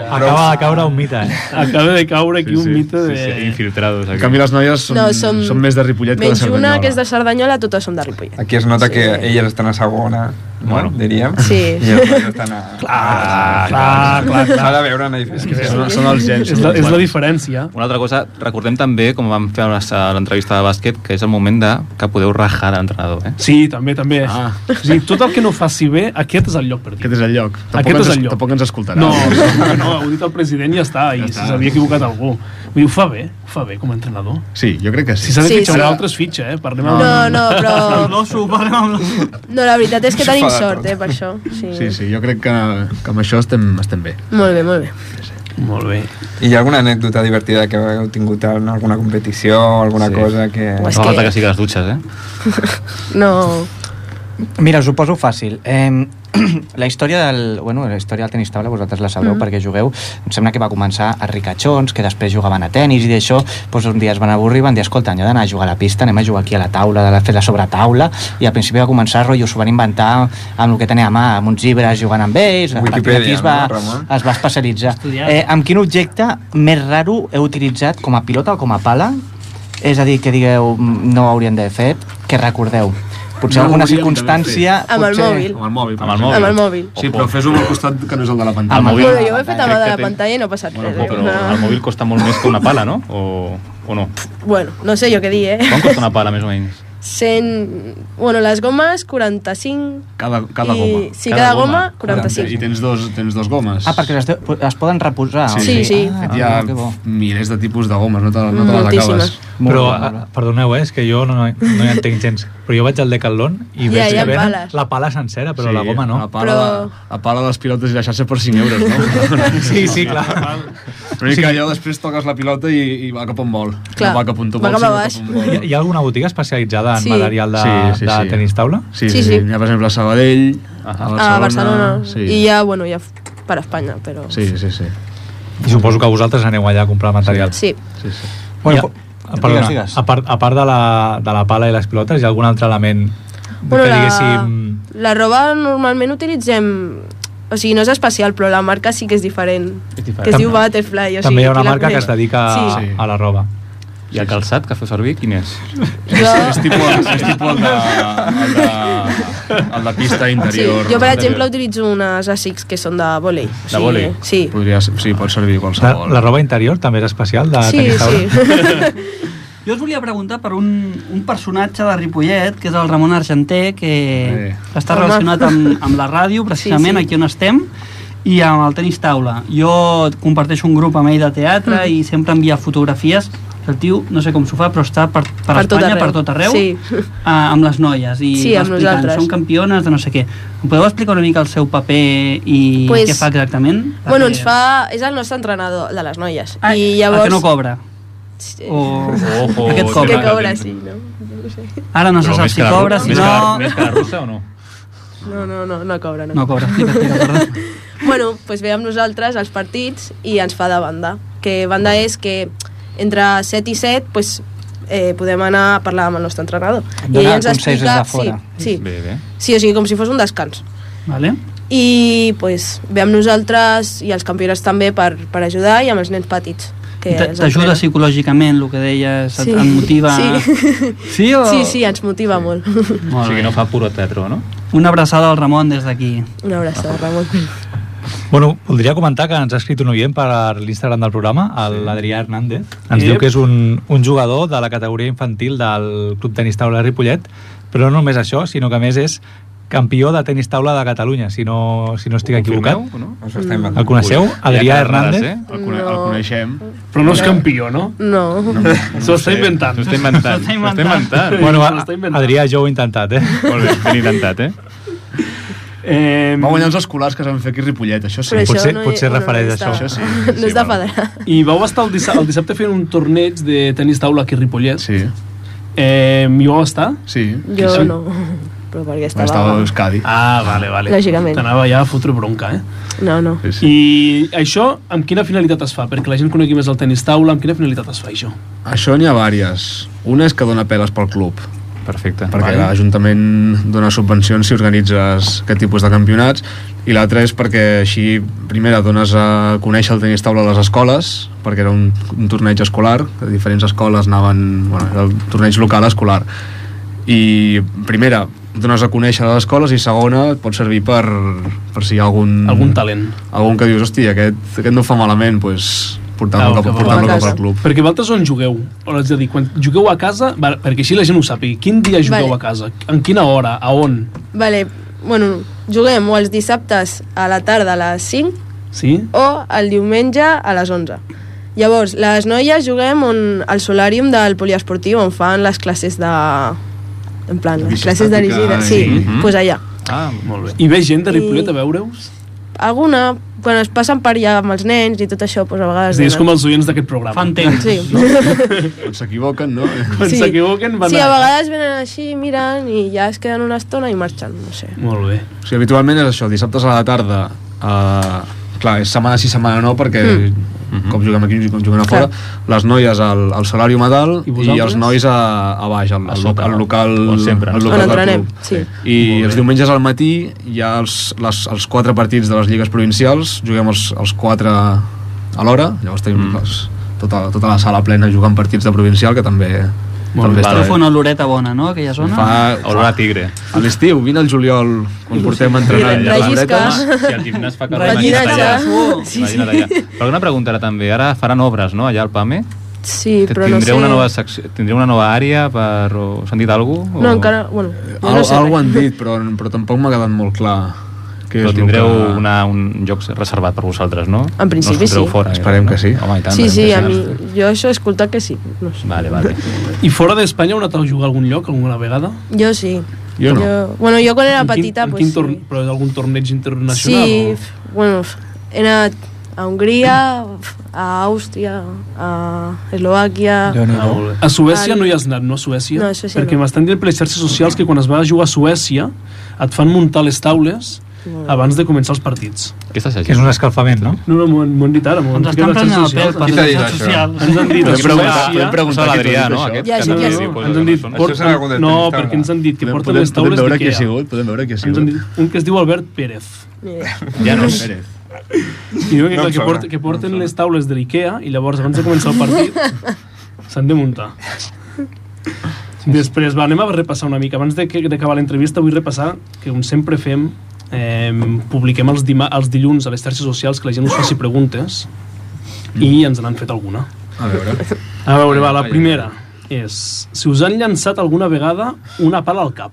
Speaker 5: Acaba de caure un mite, eh?
Speaker 2: Acaba de caure aquí un mite
Speaker 3: Sí, sí,
Speaker 2: de...
Speaker 3: infiltrados
Speaker 9: En
Speaker 3: aquí.
Speaker 9: canvi, les noies són,
Speaker 8: No, som,
Speaker 9: són més de Ripollet que de
Speaker 8: menys
Speaker 9: Cerdanyola.
Speaker 8: una que és de Cerdanyola, totes són de Ripollet.
Speaker 1: Aquí es nota que elles estan a segona, no?
Speaker 3: Bueno.
Speaker 1: diríem.
Speaker 8: Sí.
Speaker 1: I els altres estan a...
Speaker 2: Ah, clar, clar, clar.
Speaker 1: S'ha de veure una diferència.
Speaker 9: Són, són els gens.
Speaker 2: És la, és la diferència.
Speaker 3: Una altra cosa, recordem també, com vam fer a la- a l'entrevista de bàsquet, que és el moment de que podeu rajar de l'entrenador, eh?
Speaker 2: Sí, també, també. Ah.
Speaker 9: Ah.
Speaker 2: O sigui, tot el que no faci bé, aquest és el lloc per dir.
Speaker 9: Aquest és el lloc. Tampoc
Speaker 2: Aquest
Speaker 9: ens,
Speaker 2: és el
Speaker 9: es-
Speaker 2: lloc.
Speaker 9: Tampoc ens escoltarà.
Speaker 2: No, no, no, ho ha dit el president i ja està, i
Speaker 9: Ja
Speaker 2: si
Speaker 9: està.
Speaker 2: s'havia equivocat algú. Vull dir, ho fa bé, ho fa bé com a entrenador.
Speaker 9: Sí, jo crec que
Speaker 2: Si
Speaker 9: sí.
Speaker 2: s'ha de
Speaker 8: Sí,
Speaker 2: fitxar
Speaker 8: sí.
Speaker 2: un altre, es fitxa, eh? Parlem
Speaker 9: No,
Speaker 2: amb...
Speaker 8: No, no, però...
Speaker 4: L'osso, parlem amb l'osso.
Speaker 8: No, la veritat és que
Speaker 1: Això
Speaker 8: tenim
Speaker 1: fa de
Speaker 8: sort,
Speaker 1: tot.
Speaker 8: eh, per això. Sí.
Speaker 9: Sí, sí, jo crec que, que amb això estem, estem bé.
Speaker 8: Molt bé, molt bé.
Speaker 2: Molt bé.
Speaker 1: I hi ha alguna anècdota divertida que heu tingut en alguna competició o alguna
Speaker 3: Sí.
Speaker 1: cosa que...
Speaker 8: Ué. És
Speaker 3: No
Speaker 8: que-
Speaker 3: falta que sigui a les dutxes, eh?
Speaker 8: No...
Speaker 6: Mira, us ho poso fàcil. Eh, la història del, bueno, la història del tenis taula vosaltres la sabreu mm. perquè jugueu em sembla que va començar a ricachons que després jugaven a tennis i d'això doncs un dia es van avorrir i van dir escolta hem d'anar a jugar a la pista anem a jugar aquí a la taula de la, fer la sobretaula i al principi va començar rotllo s'ho van inventar amb el que tenia a mà amb uns llibres jugant amb ells a partir
Speaker 1: Wikipedia,
Speaker 6: d'aquí es
Speaker 1: no,
Speaker 6: va,
Speaker 1: Ramon?
Speaker 6: es va especialitzar
Speaker 4: Estudiar.
Speaker 6: eh, amb quin objecte més raro heu utilitzat com a pilota o com a pala és a dir, que digueu "Mm, no ho haurien d'haver fet que recordeu potser
Speaker 9: No
Speaker 6: alguna
Speaker 9: hauríem d'haver
Speaker 6: circumstància
Speaker 8: fet. Amb el
Speaker 6: potser-
Speaker 8: mòbil.
Speaker 9: Amb el mòbil. per
Speaker 3: Amb el
Speaker 9: exemple.
Speaker 8: Amb el mòbil.
Speaker 9: Sí, però fes-ho amb el costat que no és el de la pantalla.
Speaker 6: Amb el
Speaker 8: Bueno,
Speaker 6: mòbil.
Speaker 8: jo ho he fet amb
Speaker 3: Crec
Speaker 8: el de
Speaker 3: que
Speaker 8: la
Speaker 3: té-
Speaker 8: pantalla i no ha passat
Speaker 3: Bueno,
Speaker 8: res.
Speaker 3: però,
Speaker 8: eh?
Speaker 3: però el mòbil costa molt més que una pala, no? O, o no?
Speaker 8: Bueno, no sé jo què dir, eh?
Speaker 3: Quan costa una pala, més o menys?
Speaker 8: 100... Bueno, les gomes, 45...
Speaker 9: Cada, cada
Speaker 8: I-
Speaker 9: goma.
Speaker 8: sí, cada goma, 45.
Speaker 9: I tens dos, tens dos gomes.
Speaker 6: Ah, perquè es, de, es poden reposar.
Speaker 8: Sí, sí. sí.
Speaker 9: De
Speaker 6: Ah,
Speaker 9: fet, hi ha
Speaker 6: que bo.
Speaker 9: milers de tipus de gomes, no te, no te les
Speaker 8: Mm, Moltíssimes.
Speaker 9: acabes.
Speaker 6: Molt
Speaker 5: Però,
Speaker 6: bé, molt
Speaker 5: ah, perdoneu, eh, és que jo no, no hi entenc gens. Però jo vaig al Decathlon i
Speaker 8: Ja,
Speaker 5: veig
Speaker 8: hi ha
Speaker 5: que venen
Speaker 8: pales.
Speaker 5: la pala sencera, però
Speaker 9: Sí,
Speaker 5: la goma no.
Speaker 9: La pala,
Speaker 8: Però-
Speaker 9: de, la pala de les pilotes i la xarxa per 5 euros, no?
Speaker 5: Sí, sí, clar.
Speaker 9: Però sí. que allò després toques la pilota i, i va cap on vol.
Speaker 8: Clar.
Speaker 9: No va cap on tu
Speaker 8: Va
Speaker 9: vols,
Speaker 8: cap a baix.
Speaker 9: sinó on vol.
Speaker 5: Hi, hi ha alguna botiga especialitzada en
Speaker 8: Sí.
Speaker 5: material de,
Speaker 9: Sí, sí,
Speaker 5: de
Speaker 9: sí.
Speaker 5: tenis taula?
Speaker 9: Sí,
Speaker 8: Sí,
Speaker 9: sí, sí.
Speaker 8: sí.
Speaker 9: sí. Hi ha, per exemple, a Sabadell, a Barcelona...
Speaker 8: a Barcelona.
Speaker 9: Sí.
Speaker 8: I ja, bueno, ja per Espanya, però...
Speaker 9: Sí, sí, sí.
Speaker 5: I suposo que vosaltres aneu allà a comprar material.
Speaker 8: Sí.
Speaker 9: sí, sí.
Speaker 5: Bueno,
Speaker 6: Bueno,
Speaker 5: ja, perdona,
Speaker 6: digues, digues.
Speaker 5: A, part, a part de la, de la pala i les pilotes, hi ha algun altre element
Speaker 8: Bueno,
Speaker 5: que
Speaker 8: la,
Speaker 5: diguéssim...
Speaker 8: la roba normalment utilitzem... O sigui, no és especial, però la marca sí que és diferent.
Speaker 6: És diferent.
Speaker 8: Que es
Speaker 5: Tam-
Speaker 8: diu Butterfly. O sigui,
Speaker 5: També hi ha una
Speaker 8: qui la
Speaker 5: marca que
Speaker 8: coneix.
Speaker 5: es dedica a,
Speaker 8: Sí.
Speaker 9: Sí.
Speaker 5: a la roba.
Speaker 3: I el calçat que feu servir, quin és?
Speaker 9: És
Speaker 8: Jo,
Speaker 9: tipus, és tipus el, de, el, de, el de pista
Speaker 8: sí,
Speaker 9: interior.
Speaker 8: jo, per exemple, utilitzo unes Asics que són de vòlei. O sigui,
Speaker 3: vòlei?
Speaker 8: Sí.
Speaker 9: Podria, sí, pot servir
Speaker 5: La,
Speaker 9: qualsevol.
Speaker 5: la roba interior també és especial de
Speaker 8: Sí,
Speaker 5: Ah, tenis taula?
Speaker 8: sí.
Speaker 4: Jo us volia preguntar per un, un personatge de Ripollet, que és el Ramon Argenter, que
Speaker 9: Sí.
Speaker 4: està
Speaker 8: Home.
Speaker 4: relacionat amb, amb la ràdio, precisament,
Speaker 8: Sí, sí.
Speaker 4: aquí on estem, i amb el tenis taula. Jo comparteixo un grup amb ell de teatre
Speaker 8: Mhm.
Speaker 4: i sempre envia fotografies. El tio, no sé com s'ho fa, però està per, per,
Speaker 8: Per tot
Speaker 4: Espanya,
Speaker 8: arreu.
Speaker 4: per tot arreu,
Speaker 8: Sí.
Speaker 4: a, amb les noies. I
Speaker 8: Sí,
Speaker 4: va
Speaker 8: amb
Speaker 4: explicant,
Speaker 8: nosaltres.
Speaker 4: Són campiones de no sé què. Em podeu explicar una mica el seu paper i
Speaker 8: Pues-
Speaker 4: què fa exactament?
Speaker 8: Bueno,
Speaker 4: Perquè-
Speaker 8: ens fa... És el nostre entrenador de les noies.
Speaker 4: Ah,
Speaker 8: I llavors...
Speaker 4: El que no cobra.
Speaker 8: Sí.
Speaker 4: O...
Speaker 3: Ojo,
Speaker 4: Aquest
Speaker 8: Sí que
Speaker 4: cobra.
Speaker 8: cobra, sí, no?
Speaker 4: Ara no se
Speaker 3: Però
Speaker 4: sap
Speaker 3: més
Speaker 4: si
Speaker 3: que la ru-
Speaker 4: cobra, si
Speaker 3: més que la-
Speaker 4: no...
Speaker 3: Més que la russa o no?
Speaker 8: No, no, no, no cobra, no.
Speaker 4: No cobra, explica, explica, perdó.
Speaker 8: Bueno, doncs pues ve amb nosaltres als partits i ens fa de banda. Que banda és que entre 7 i 7 pues, eh, podem anar a parlar amb el nostre entrenador.
Speaker 6: Donar
Speaker 8: ell
Speaker 6: consells des de fora.
Speaker 8: Sí, sí,
Speaker 3: Bé, bé.
Speaker 8: sí, o sigui, com si fos un descans.
Speaker 4: Vale?
Speaker 8: I pues, ve amb nosaltres i els campionats també per, per ajudar i amb els nens petits. que
Speaker 4: I t-
Speaker 8: ens
Speaker 4: T'ajuda
Speaker 8: entrenen.
Speaker 4: psicològicament, el que deies, et,
Speaker 8: Sí.
Speaker 4: et motiva...
Speaker 8: Sí.
Speaker 4: sí o...
Speaker 8: Sí, sí, ens motiva sí. molt.
Speaker 3: O
Speaker 4: Molt bé.
Speaker 3: sigui que no fa puro teatro, no?
Speaker 4: Una abraçada al Ramon des d'aquí.
Speaker 8: Una abraçada, Ramon.
Speaker 5: Bueno, voldria comentar que ens ha escrit un oient per l'Instagram del programa, l'Adrià Hernández. Ens
Speaker 2: Ep.
Speaker 5: diu que és un, un jugador de la categoria infantil del Club Tenis Taula de Ripollet, però no només això, sinó que a més és campió de tenis taula de Catalunya, si no, si no estic equivocat.
Speaker 3: Confirmeu o no?
Speaker 1: Us ho estem
Speaker 5: El
Speaker 1: inventant.
Speaker 5: coneixeu?
Speaker 3: Ja
Speaker 5: Adrià
Speaker 3: que les dades,
Speaker 5: Hernández.
Speaker 3: eh?
Speaker 9: El, cone
Speaker 8: No.
Speaker 9: el coneixem.
Speaker 2: Però no és campió, no?
Speaker 8: No. no.
Speaker 2: S'ho està
Speaker 9: sé.
Speaker 2: inventant.
Speaker 3: S'ho està inventant. S'ho està inventant.
Speaker 5: Bueno,
Speaker 2: S'ho
Speaker 5: a-
Speaker 2: està inventant.
Speaker 5: Adrià, jo ho he intentat, eh?
Speaker 3: Molt bé, ben intentat, eh?
Speaker 2: Eh,
Speaker 9: Va guanyar els escolars que es van fer aquí a Ripollet, això sí.
Speaker 8: Però
Speaker 5: Potser-
Speaker 8: hi-
Speaker 5: potser
Speaker 8: bueno,
Speaker 5: refereix
Speaker 8: no
Speaker 5: a
Speaker 8: està-
Speaker 5: això.
Speaker 9: Això sí, sí,
Speaker 8: No és de
Speaker 9: bueno.
Speaker 8: federar.
Speaker 2: I vau estar el, dissabte, el dissabte fent un torneig de tenis taula aquí a Ripollet.
Speaker 9: Sí,
Speaker 2: Eh, hi vau estar?
Speaker 9: sí.
Speaker 8: Jo
Speaker 9: sí.
Speaker 8: no, però perquè estava...
Speaker 9: Estava a Euskadi.
Speaker 2: Ah, vale, vale.
Speaker 8: Lògicament.
Speaker 2: T'anava ja a fotre bronca, eh?
Speaker 8: No, no.
Speaker 9: Sí, sí.
Speaker 2: I això, amb quina finalitat es fa? Perquè la gent conegui més el tenis taula, amb quina finalitat es fa això?
Speaker 9: Això n'hi ha vàries. Una és que dona peles pel club,
Speaker 3: Perfecte.
Speaker 9: perquè l'Ajuntament dona subvencions si organitzes aquest tipus de campionats, i l'altra és perquè així, primera, dones a conèixer el tenis taula a les escoles, perquè era un, un torneig escolar, que diferents escoles anaven... Bueno, era el torneig local escolar. I, primera, dones a conèixer a les escoles, i segona, et pot servir per, per si hi ha algun...
Speaker 2: Algun talent.
Speaker 9: algun que dius, hòstia, aquest, aquest no fa malament, doncs portar-lo
Speaker 2: Ah,
Speaker 9: cap,
Speaker 2: que
Speaker 8: va
Speaker 9: portar
Speaker 8: a
Speaker 9: cap
Speaker 8: casa.
Speaker 9: al club.
Speaker 2: Perquè vosaltres on jugueu? On és a dir, quan jugueu a casa, va, perquè així la gent ho sàpiga, quin dia jugueu
Speaker 8: Vale.
Speaker 2: a casa? En quina hora? A on?
Speaker 8: Vale, bueno, juguem o els dissabtes a la tarda a les 5
Speaker 2: Sí?
Speaker 8: o el diumenge a les 11. Llavors, les noies juguem on, al solàrium del poliesportiu on fan les classes de... En plan, les
Speaker 9: Bici
Speaker 8: classes de
Speaker 9: estàtica
Speaker 8: rigida.
Speaker 9: i-
Speaker 8: Sí, doncs
Speaker 3: Mhm.
Speaker 8: pues allà.
Speaker 3: Ah, molt bé.
Speaker 2: I ve gent de
Speaker 8: I-
Speaker 2: Ripollet a veure-us?
Speaker 8: Alguna, quan es passen per allà amb els nens i tot això, doncs a
Speaker 2: És
Speaker 8: vegades...
Speaker 2: a dir, és
Speaker 8: venen.
Speaker 2: com els oients d'aquest programa.
Speaker 4: Fan temps.
Speaker 8: Sí.
Speaker 9: Quan s'equivoquen, no?
Speaker 2: Quan
Speaker 8: Sí.
Speaker 2: s'equivoquen van
Speaker 8: sí, a
Speaker 2: a...
Speaker 8: vegades venen així, miren i ja es queden una estona i marxen, no sé.
Speaker 2: Molt bé.
Speaker 9: O sigui, habitualment és això, dissabtes a la tarda, eh, clar, és setmana sí, setmana no, perquè mm. com juguem aquí, com juguem a fora, les noies al, al solàrium a dalt
Speaker 2: I
Speaker 9: i,
Speaker 2: vosaltres?
Speaker 9: els nois a, a baix, al,
Speaker 3: A
Speaker 9: al,
Speaker 3: sota,
Speaker 9: al local,
Speaker 3: on sempre.
Speaker 9: al
Speaker 8: On
Speaker 9: local del
Speaker 8: entrenem,
Speaker 9: club.
Speaker 8: sí.
Speaker 9: I els diumenges al matí hi ha els, les, els quatre partits de les lligues provincials, juguem els, els quatre a l'hora, llavors tenim mm. les, tota, tota la sala plena jugant partits de provincial, que també,
Speaker 3: bé.
Speaker 9: també està
Speaker 4: Però
Speaker 9: bé.
Speaker 4: fa una oloreta bona, no?, aquella zona.
Speaker 9: Fa,
Speaker 3: Olor a tigre.
Speaker 9: a l'estiu, vine al juliol, quan portem entrenant.
Speaker 8: la
Speaker 9: les
Speaker 8: rellisca.
Speaker 9: floretes.
Speaker 3: Home, si el gimnàs fa calor,
Speaker 4: Rellisca.
Speaker 3: imagina't allà.
Speaker 4: Segur.
Speaker 3: Imagina't allà. Però una pregunta ara també, ara faran obres, no?, allà al PAME?
Speaker 8: Sí, però no sé...
Speaker 3: tindré una nova secció, tindré una nova àrea per... O, s'han dit alguna cosa?
Speaker 8: No, encara... Bueno, jo
Speaker 9: Al,
Speaker 8: no sé
Speaker 9: algo
Speaker 8: res.
Speaker 9: han dit, però, però tampoc m'ha quedat molt clar. què és
Speaker 3: Però
Speaker 9: el
Speaker 3: tindreu
Speaker 9: que...
Speaker 3: una, un lloc reservat per vosaltres, no?
Speaker 8: En principi,
Speaker 3: no us fotreu
Speaker 8: sí.
Speaker 3: Fora,
Speaker 9: Esperem
Speaker 3: no?
Speaker 9: que sí.
Speaker 3: Home, i tant,
Speaker 8: Sí,
Speaker 3: esperem
Speaker 8: sí,
Speaker 3: que
Speaker 8: a mi... Jo això he escoltat que sí. No sé.
Speaker 3: Vale, vale.
Speaker 2: I fora d'Espanya heu anat a jugar a algun lloc alguna vegada?
Speaker 8: Jo sí.
Speaker 9: Jo no.
Speaker 8: Jo, bueno, jo quan era
Speaker 2: En quin-
Speaker 8: petita...
Speaker 2: en
Speaker 8: pues,
Speaker 2: quin
Speaker 8: sí.
Speaker 2: torn- Però d'algun torneig internacional?
Speaker 8: Sí,
Speaker 2: o-
Speaker 8: f- bueno, f- he anat a Hongria, f- a Àustria, a Eslovàquia...
Speaker 6: déu nhi
Speaker 2: Ah, molt bé. A Suècia
Speaker 8: Al-
Speaker 2: no hi has anat, no? A Suècia?
Speaker 8: No, a Suècia
Speaker 2: Perquè
Speaker 8: no.
Speaker 2: m'estan dient per les xarxes socials que quan es va a jugar a Suècia et fan muntar les taules abans de començar els partits.
Speaker 3: Què estàs
Speaker 5: Que és
Speaker 3: llegint?
Speaker 5: un escalfament, no?
Speaker 2: No, no, m'ho han- m'ho han dit ara. m'ho han
Speaker 4: Ens
Speaker 2: ficat a
Speaker 4: estan
Speaker 2: les
Speaker 4: prenent el
Speaker 2: xarxes
Speaker 4: pèl per
Speaker 2: socials.
Speaker 1: Qui t'ha
Speaker 4: les
Speaker 1: dit
Speaker 4: xarxes
Speaker 1: això?
Speaker 4: socials.
Speaker 2: Ens han dit a
Speaker 9: Podem preguntar,
Speaker 2: Suècia...
Speaker 9: podem preguntar
Speaker 3: Això
Speaker 9: qui t'ho
Speaker 3: l'Adrià,
Speaker 9: ha
Speaker 3: no?
Speaker 9: dit, això.
Speaker 3: Aquest
Speaker 8: Ja,
Speaker 3: que
Speaker 8: sí,
Speaker 3: també
Speaker 8: ja,
Speaker 3: diu
Speaker 8: sí.
Speaker 3: coses
Speaker 2: Ens han dit,
Speaker 3: que no són.
Speaker 1: Això serà algun de
Speaker 2: porten, no,
Speaker 1: tenista,
Speaker 2: perquè ens han dit que
Speaker 9: Podem,
Speaker 2: porten
Speaker 9: podem,
Speaker 2: les taules
Speaker 9: veure qui ha
Speaker 2: d'Ikea.
Speaker 9: sigut, eh? podem veure qui ha
Speaker 2: Ens han
Speaker 9: sigut.
Speaker 2: dit un que es diu Albert Pérez.
Speaker 8: Ni idea.
Speaker 3: Ja no és...
Speaker 9: Pérez.
Speaker 2: I diuen que,
Speaker 1: No em
Speaker 2: clar, que,
Speaker 1: sona,
Speaker 2: porten, que porten les taules de l'IKEA i llavors abans de començar el partit s'han de muntar. Després, va, anem a repassar una mica. Abans de que- d'acabar l'entrevista vull repassar que com sempre fem eh, publiquem els, dima els dilluns a les xarxes socials que la gent us faci preguntes i ens n'han fet alguna.
Speaker 9: A veure.
Speaker 2: A veure, va, la primera és si us han llançat alguna vegada una pala al cap.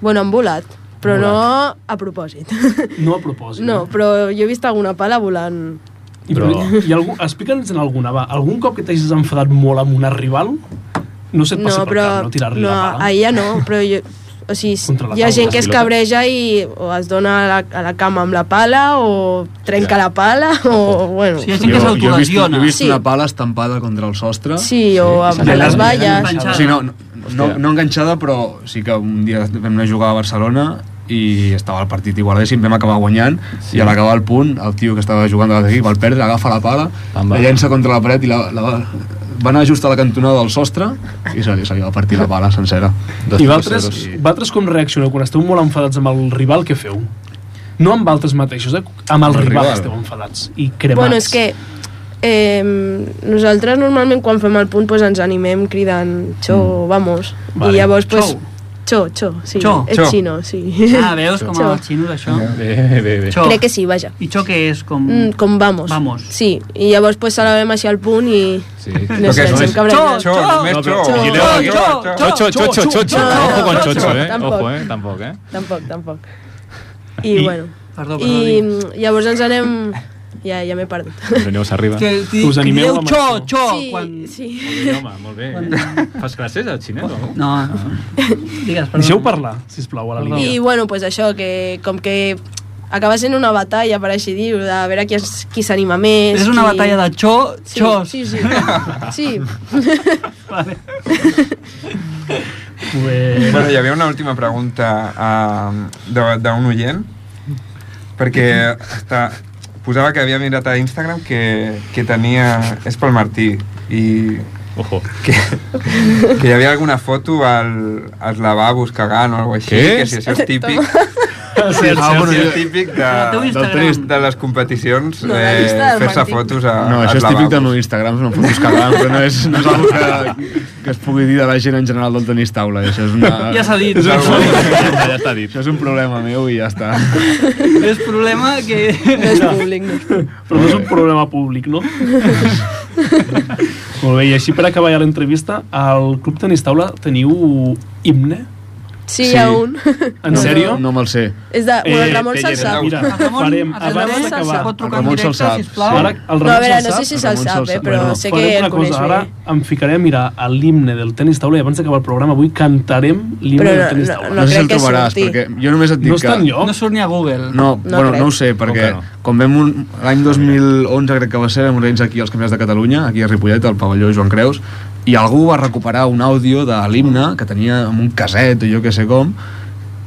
Speaker 8: Bueno, han volat, però no a propòsit.
Speaker 2: No a propòsit.
Speaker 8: No, però jo he vist alguna pala volant.
Speaker 2: I, però... i algú, explica'ns en alguna, va. Algun cop que t'hagis enfadat molt amb una rival, no se't passa
Speaker 8: No,
Speaker 2: no, per
Speaker 8: però...
Speaker 2: cap, no? Tirar-li
Speaker 8: no,
Speaker 2: la pala.
Speaker 8: a ella no, però jo... O sigui,
Speaker 2: Contra la
Speaker 8: hi ha
Speaker 2: taula,
Speaker 8: gent que
Speaker 2: les
Speaker 8: es
Speaker 2: pilotes.
Speaker 8: cabreja i o es dona a la, a la cama amb la pala o trenca la pala o... Bueno,
Speaker 4: Sí, hi ha gent que
Speaker 9: he vist, jo
Speaker 4: s'autolesiona.
Speaker 9: he vist
Speaker 8: Sí.
Speaker 9: una pala estampada contra el sostre.
Speaker 8: sí, o amb
Speaker 9: s'ha
Speaker 8: les
Speaker 9: quedat
Speaker 8: valles.
Speaker 4: Enganxada.
Speaker 9: O sigui, no, no, no, no enganxada, però sí que un dia vam anar a jugar a Barcelona i estava el partit igualadíssim, vam acabar guanyant sí. i a l'acabar el punt, el tio que estava jugant de l'equip, el perdre, agafa la pala,
Speaker 3: Em va.
Speaker 9: la llença contra la paret i la, la, va anar just a la cantonada del sostre i se li, se li va partir la pala sencera.
Speaker 2: I vosaltres, vosaltres com reaccioneu quan esteu molt enfadats amb el rival, què feu? No amb altres mateixos, eh? amb el,
Speaker 9: Amb el
Speaker 2: rival,
Speaker 9: rival.
Speaker 2: esteu enfadats i cremats.
Speaker 8: Bueno, és que eh, nosaltres normalment quan fem el punt pues, ens animem cridant xo, vamos.
Speaker 2: Vale.
Speaker 8: I llavors, pues,
Speaker 4: Xou.
Speaker 8: xo, xo, sí,
Speaker 4: Xou.
Speaker 8: és
Speaker 1: Xou.
Speaker 8: xino, sí.
Speaker 4: Ah, veus com
Speaker 8: Xo.
Speaker 4: els xinos, això?
Speaker 3: Bé, bé, bé.
Speaker 4: Xo.
Speaker 8: Crec que sí, vaja.
Speaker 4: I xo què és? Com...
Speaker 8: Mm, com vamos.
Speaker 4: Vamos.
Speaker 8: Sí, i llavors pues, celebrem així el punt i...
Speaker 3: Sí.
Speaker 8: No sé, ens hem
Speaker 4: Xo,
Speaker 8: cabregat.
Speaker 1: Xo, només xo.
Speaker 8: Xo,
Speaker 1: Vigileu,
Speaker 8: xo,
Speaker 1: vigileu,
Speaker 8: xo,
Speaker 1: xo.
Speaker 8: xo.
Speaker 3: Xocho, xocho, xocho.
Speaker 8: No, no,
Speaker 3: Ojo con
Speaker 8: no,
Speaker 3: xocho, eh?
Speaker 8: tampoc.
Speaker 3: Ojo, eh? Tampoc, eh?
Speaker 8: Tampoc, tampoc. I, bueno,
Speaker 4: Perdó, perdó.
Speaker 8: i
Speaker 4: I...
Speaker 8: mm, llavors ens anem... Ja, ja m'he perdut.
Speaker 3: Veniu arriba.
Speaker 4: Que, que,
Speaker 2: Us
Speaker 4: que
Speaker 2: animeu
Speaker 4: dieu
Speaker 2: amb
Speaker 4: xo,
Speaker 2: això?
Speaker 4: xo,
Speaker 8: sí,
Speaker 4: Oh, quan...
Speaker 8: sí.
Speaker 3: Home, molt bé. Fas classes al xinès o no?
Speaker 4: No, no. Digues, perdó.
Speaker 2: Deixeu parlar, sisplau, a la
Speaker 4: Perdó.
Speaker 2: línia.
Speaker 8: I, bueno, pues això, que com que acaba sent una batalla, per així dir-ho, de veure qui es- qui s'anima més.
Speaker 4: És una
Speaker 8: qui...
Speaker 4: batalla de xo,
Speaker 8: Sí,
Speaker 4: xos.
Speaker 8: sí, sí. sí.
Speaker 2: Bé.
Speaker 1: Bueno, hi havia una última pregunta uh, d'un oient, perquè està, posava que havia mirat a Instagram que, que tenia... És pel Martí, i
Speaker 3: Ojo.
Speaker 1: que, que hi havia alguna foto al, als lavabos cagant o alguna cosa així,
Speaker 3: Què?
Speaker 1: que si això és típic,
Speaker 2: Sí,
Speaker 1: ah, bueno,
Speaker 2: sí,
Speaker 1: és
Speaker 2: sí.
Speaker 1: típic
Speaker 4: El teu
Speaker 1: de,
Speaker 4: Instagram.
Speaker 9: trist,
Speaker 1: de les competicions
Speaker 8: No, la
Speaker 1: eh,
Speaker 8: llista del
Speaker 1: fer-se
Speaker 8: Martí.
Speaker 1: fotos a,
Speaker 9: No, això
Speaker 1: als
Speaker 9: és típic del
Speaker 1: lavabos.
Speaker 9: meu Instagram, són fotos que van, però no és, no és algo que, que es pugui dir de la gent en general del tenis taula. i Això és una...
Speaker 4: Ja s'ha dit.
Speaker 9: És un,
Speaker 3: Ja està dit.
Speaker 9: això és un problema meu i ja està.
Speaker 4: És problema que...
Speaker 8: No és públic, no és públic.
Speaker 2: Però no és un problema públic, no? Molt bé, i així per acabar ja l'entrevista, al Club Tenis Taula teniu himne?
Speaker 8: Sí, hi ha un.
Speaker 2: En sèrio?
Speaker 9: No me'l sé.
Speaker 8: És de... bueno,
Speaker 2: Eh,
Speaker 8: el Ramon
Speaker 3: té
Speaker 8: Salsà.
Speaker 1: lletra.
Speaker 2: Mira, farem, abans d'acabar...
Speaker 4: Pot trucar en
Speaker 9: Ramon
Speaker 4: directe,
Speaker 9: se'l sap.
Speaker 4: sisplau.
Speaker 2: Ara, el Ramon
Speaker 8: No, a veure,
Speaker 2: se'l
Speaker 8: no sé
Speaker 2: sap?
Speaker 8: si se'l
Speaker 9: Ramon
Speaker 8: sap,
Speaker 9: se'l
Speaker 8: eh,
Speaker 9: sap.
Speaker 8: però
Speaker 9: Bueno,
Speaker 8: sé
Speaker 2: farem
Speaker 8: que
Speaker 2: una
Speaker 8: el coneix
Speaker 2: cosa, ara
Speaker 8: bé.
Speaker 2: em ficaré a mirar l'himne del tenis taula i abans d'acabar el programa avui cantarem l'himne
Speaker 8: Però
Speaker 2: del
Speaker 8: no-
Speaker 2: tenis
Speaker 8: no-
Speaker 2: taula.
Speaker 9: No, no sé si
Speaker 8: crec
Speaker 9: el
Speaker 8: que
Speaker 9: trobaràs,
Speaker 8: surti.
Speaker 9: perquè jo només et dic
Speaker 2: No està
Speaker 9: que...
Speaker 2: enlloc?
Speaker 4: No surt ni a Google.
Speaker 9: No,
Speaker 8: No
Speaker 9: bueno,
Speaker 8: crec.
Speaker 9: no ho sé, perquè
Speaker 3: Com que
Speaker 9: quan vam un... l'any 2011, crec que va ser, vam organitzar aquí els Campionats de Catalunya, aquí a Ripollet, al pavelló Joan Creus, i algú va recuperar un àudio de l'himne que tenia amb un caset o jo que sé com,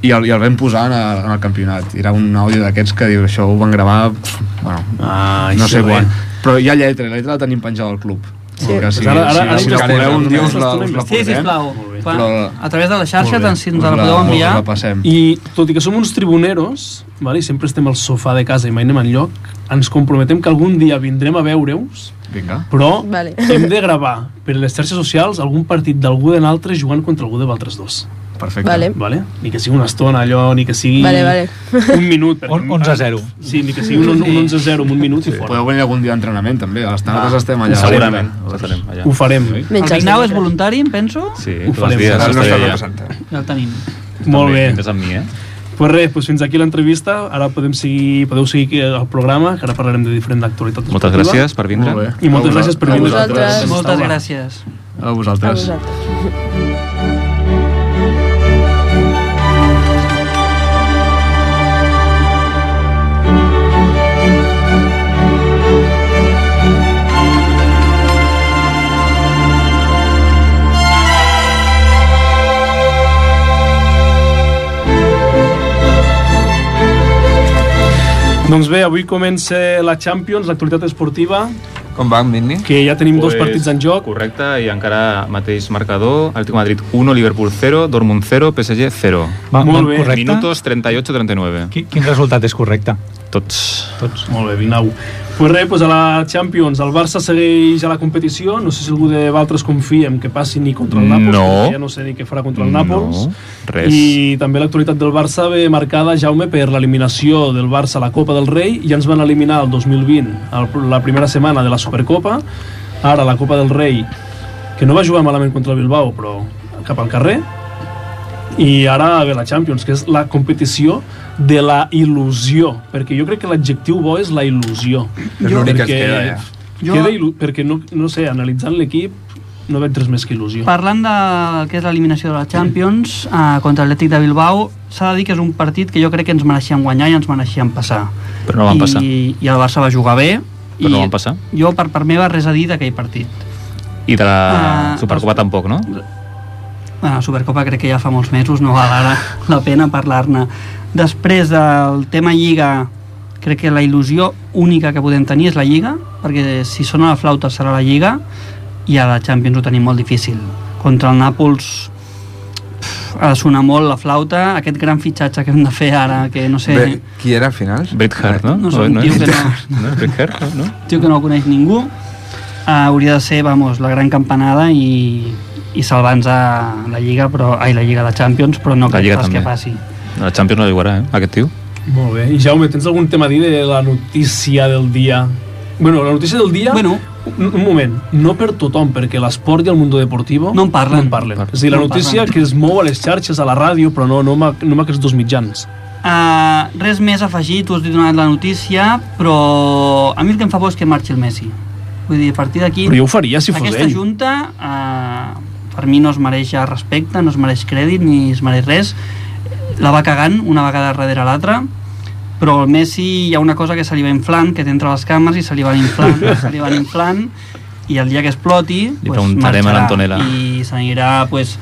Speaker 9: i el, i el vam posar en, el, en el campionat. Era un àudio d'aquests que diu, això ho van gravar, pf, bueno,
Speaker 2: Ah,
Speaker 9: no
Speaker 2: això
Speaker 9: sé
Speaker 2: bé.
Speaker 9: quan. Però hi ha lletra, i la lletra la tenim penjada al club.
Speaker 8: Sí.
Speaker 9: Perquè Si,
Speaker 2: Doncs ara-
Speaker 9: si,
Speaker 2: ara- ara
Speaker 9: si, la
Speaker 1: buscarem
Speaker 9: voleu un
Speaker 1: una
Speaker 9: dia us la,
Speaker 2: estona
Speaker 9: us la
Speaker 4: Sí,
Speaker 9: posem.
Speaker 4: sisplau.
Speaker 2: Molt bé.
Speaker 4: Quan-
Speaker 9: eh? Però-
Speaker 4: A través de les xarxes,
Speaker 9: Molt bé.
Speaker 4: tant si ens la
Speaker 9: Us
Speaker 4: podeu
Speaker 9: us
Speaker 4: enviar.
Speaker 9: La passem.
Speaker 2: I tot i que som uns tribuneros, vale, i sempre estem al sofà de casa i mai anem enlloc, ens comprometem que algun dia vindrem a veure-us,
Speaker 9: Vinga.
Speaker 2: però
Speaker 8: Vale.
Speaker 2: hem de gravar per les xarxes socials algun partit d'algú d'un altre jugant contra algú de Valtres dos.
Speaker 9: Perfecte.
Speaker 8: Vale.
Speaker 2: Vale? Ni que sigui una estona allò, ni que sigui
Speaker 8: Vale, vale.
Speaker 2: un minut. perquè-
Speaker 5: On- 11 a 0.
Speaker 2: Sí, ni que sigui un, un 11 a 0 en un minut sí. i fora.
Speaker 9: Podeu venir algun dia d'entrenament, també. A les tardes
Speaker 2: Va,
Speaker 9: estem allà.
Speaker 3: Segurament. Ho farem allà.
Speaker 2: Ho farem.
Speaker 4: El
Speaker 8: Menys els
Speaker 4: Vignau és
Speaker 8: dimecres.
Speaker 4: voluntari, em penso?
Speaker 3: Sí,
Speaker 2: Ho
Speaker 3: tots
Speaker 2: farem.
Speaker 3: els dies
Speaker 1: Serà el nostre
Speaker 3: estaré allà.
Speaker 1: representant.
Speaker 4: Ja el tenim.
Speaker 2: Molt
Speaker 3: També,
Speaker 2: bé.
Speaker 3: Vindràs amb mi, eh?
Speaker 2: Pues res, pues fins aquí l'entrevista. Ara podem seguir, podeu seguir el programa, que ara parlarem de diferent actualitat.
Speaker 3: Moltes
Speaker 2: esportiva.
Speaker 3: gràcies per vindre.
Speaker 9: Molt bé.
Speaker 2: I moltes
Speaker 9: A
Speaker 2: gràcies per
Speaker 9: a
Speaker 2: vindre.
Speaker 8: Vosaltres.
Speaker 9: vosaltres.
Speaker 4: Moltes
Speaker 2: Estava.
Speaker 4: gràcies.
Speaker 9: A
Speaker 8: A
Speaker 9: vosaltres.
Speaker 8: vosaltres.
Speaker 2: Doncs bé, avui comença la Champions, l'actualitat esportiva,
Speaker 1: Com va, Minni?
Speaker 2: que ja tenim dos
Speaker 3: Pues,
Speaker 2: partits en joc.
Speaker 3: Correcte, i encara mateix marcador. Atlético de Madrid 1, Liverpool 0, Dortmund 0, PSG 0.
Speaker 5: Va,
Speaker 2: Molt
Speaker 5: va
Speaker 2: bé.
Speaker 5: correcte?
Speaker 3: Minutos 38-39.
Speaker 5: Qui- Quin resultat és correcte?
Speaker 3: Tots.
Speaker 5: Tots.
Speaker 2: Molt bé, Vignau. Pues res, pues a la Champions, el Barça segueix a la competició, no sé si algú de Valtres confia en que passi ni contra el Nàpols,
Speaker 3: No.
Speaker 2: perquè ja no sé ni què farà contra el Nàpols.
Speaker 3: No, res.
Speaker 2: I també l'actualitat del Barça ve marcada, Jaume, per l'eliminació del Barça a la Copa del Rei. Ja ens van eliminar el 2020, el, la primera setmana de la Supercopa. Ara la Copa del Rei, que no va jugar malament contra el Bilbao, però cap al carrer. I ara ve la Champions, que és la competició de la il·lusió, perquè jo crec que l'adjectiu bo és la il·lusió.
Speaker 1: És l'únic que ens queda, eh? ja.
Speaker 2: Jo... Queda il·lu... perquè no, no sé, analitzant l'equip no veig res més que il·lusió.
Speaker 4: Parlant del que és l'eliminació de la Champions eh, contra l'Atlètic de Bilbao, s'ha de dir que és un partit que jo crec que ens mereixíem guanyar i ens mereixíem passar.
Speaker 3: Però no van passar.
Speaker 4: I, i el Barça va jugar bé. i
Speaker 3: Però no van passar.
Speaker 4: Jo, per part meva, res a dir d'aquell partit.
Speaker 3: I de la
Speaker 4: Ah,
Speaker 3: Supercopa
Speaker 4: els-
Speaker 3: tampoc, no?
Speaker 4: Bueno, la Supercopa crec que ja fa molts mesos, no val ara la pena parlar-ne. Després del tema Lliga, crec que la il·lusió única que podem tenir és la Lliga, perquè si sona la flauta serà la Lliga, i a la Champions ho tenim molt difícil. Contra el Nàpols pff, ha de sonar molt la flauta, aquest gran fitxatge que hem de fer ara, que no sé...
Speaker 1: Bé, qui era al final?
Speaker 3: Bret Hart, no?
Speaker 4: No sé,
Speaker 3: no,
Speaker 4: diu
Speaker 3: és?
Speaker 4: que no.
Speaker 3: no és Bret Hart, no? no?
Speaker 4: tio que no el coneix ningú uh, hauria de ser, vamos, la gran campanada i, i salvar-nos a la Lliga, però, ai, la Lliga de Champions, però no
Speaker 3: La
Speaker 4: crec
Speaker 3: Lliga
Speaker 4: pas
Speaker 3: també.
Speaker 4: que passi.
Speaker 3: La Champions no jugarà, eh? Aquest tio.
Speaker 2: Molt bé. I Jaume, tens algun tema a dir de la notícia del dia? Bueno, la notícia del dia...
Speaker 4: Bueno.
Speaker 2: Un, un moment, no per tothom, perquè l'esport i el món deportivo...
Speaker 4: No en parlen.
Speaker 2: No en parlen.
Speaker 3: Parlen.
Speaker 2: És a dir, la
Speaker 4: No en
Speaker 2: notícia
Speaker 4: parlen.
Speaker 2: que es mou a les xarxes, a la ràdio, però no, no, amb, no amb aquests dos mitjans.
Speaker 4: Uh, res més afegit, us he donat la notícia, però a mi el que em fa por és que marxi el Messi. Vull dir, a partir d'aquí...
Speaker 2: Però jo ho faria si fos
Speaker 4: Aquesta
Speaker 2: ell.
Speaker 4: junta, eh, per mi no es mereix ja respecte, no es mereix crèdit, ni es mereix res. La va cagant una vegada darrere l'altra, però el Messi hi ha una cosa que se li va inflant, que té entre les cames i se li va inflant, se li van inflant, i el dia que exploti,
Speaker 3: Li preguntarem a
Speaker 4: marxarà
Speaker 3: l'Antonella.
Speaker 4: I s'anirà, pues,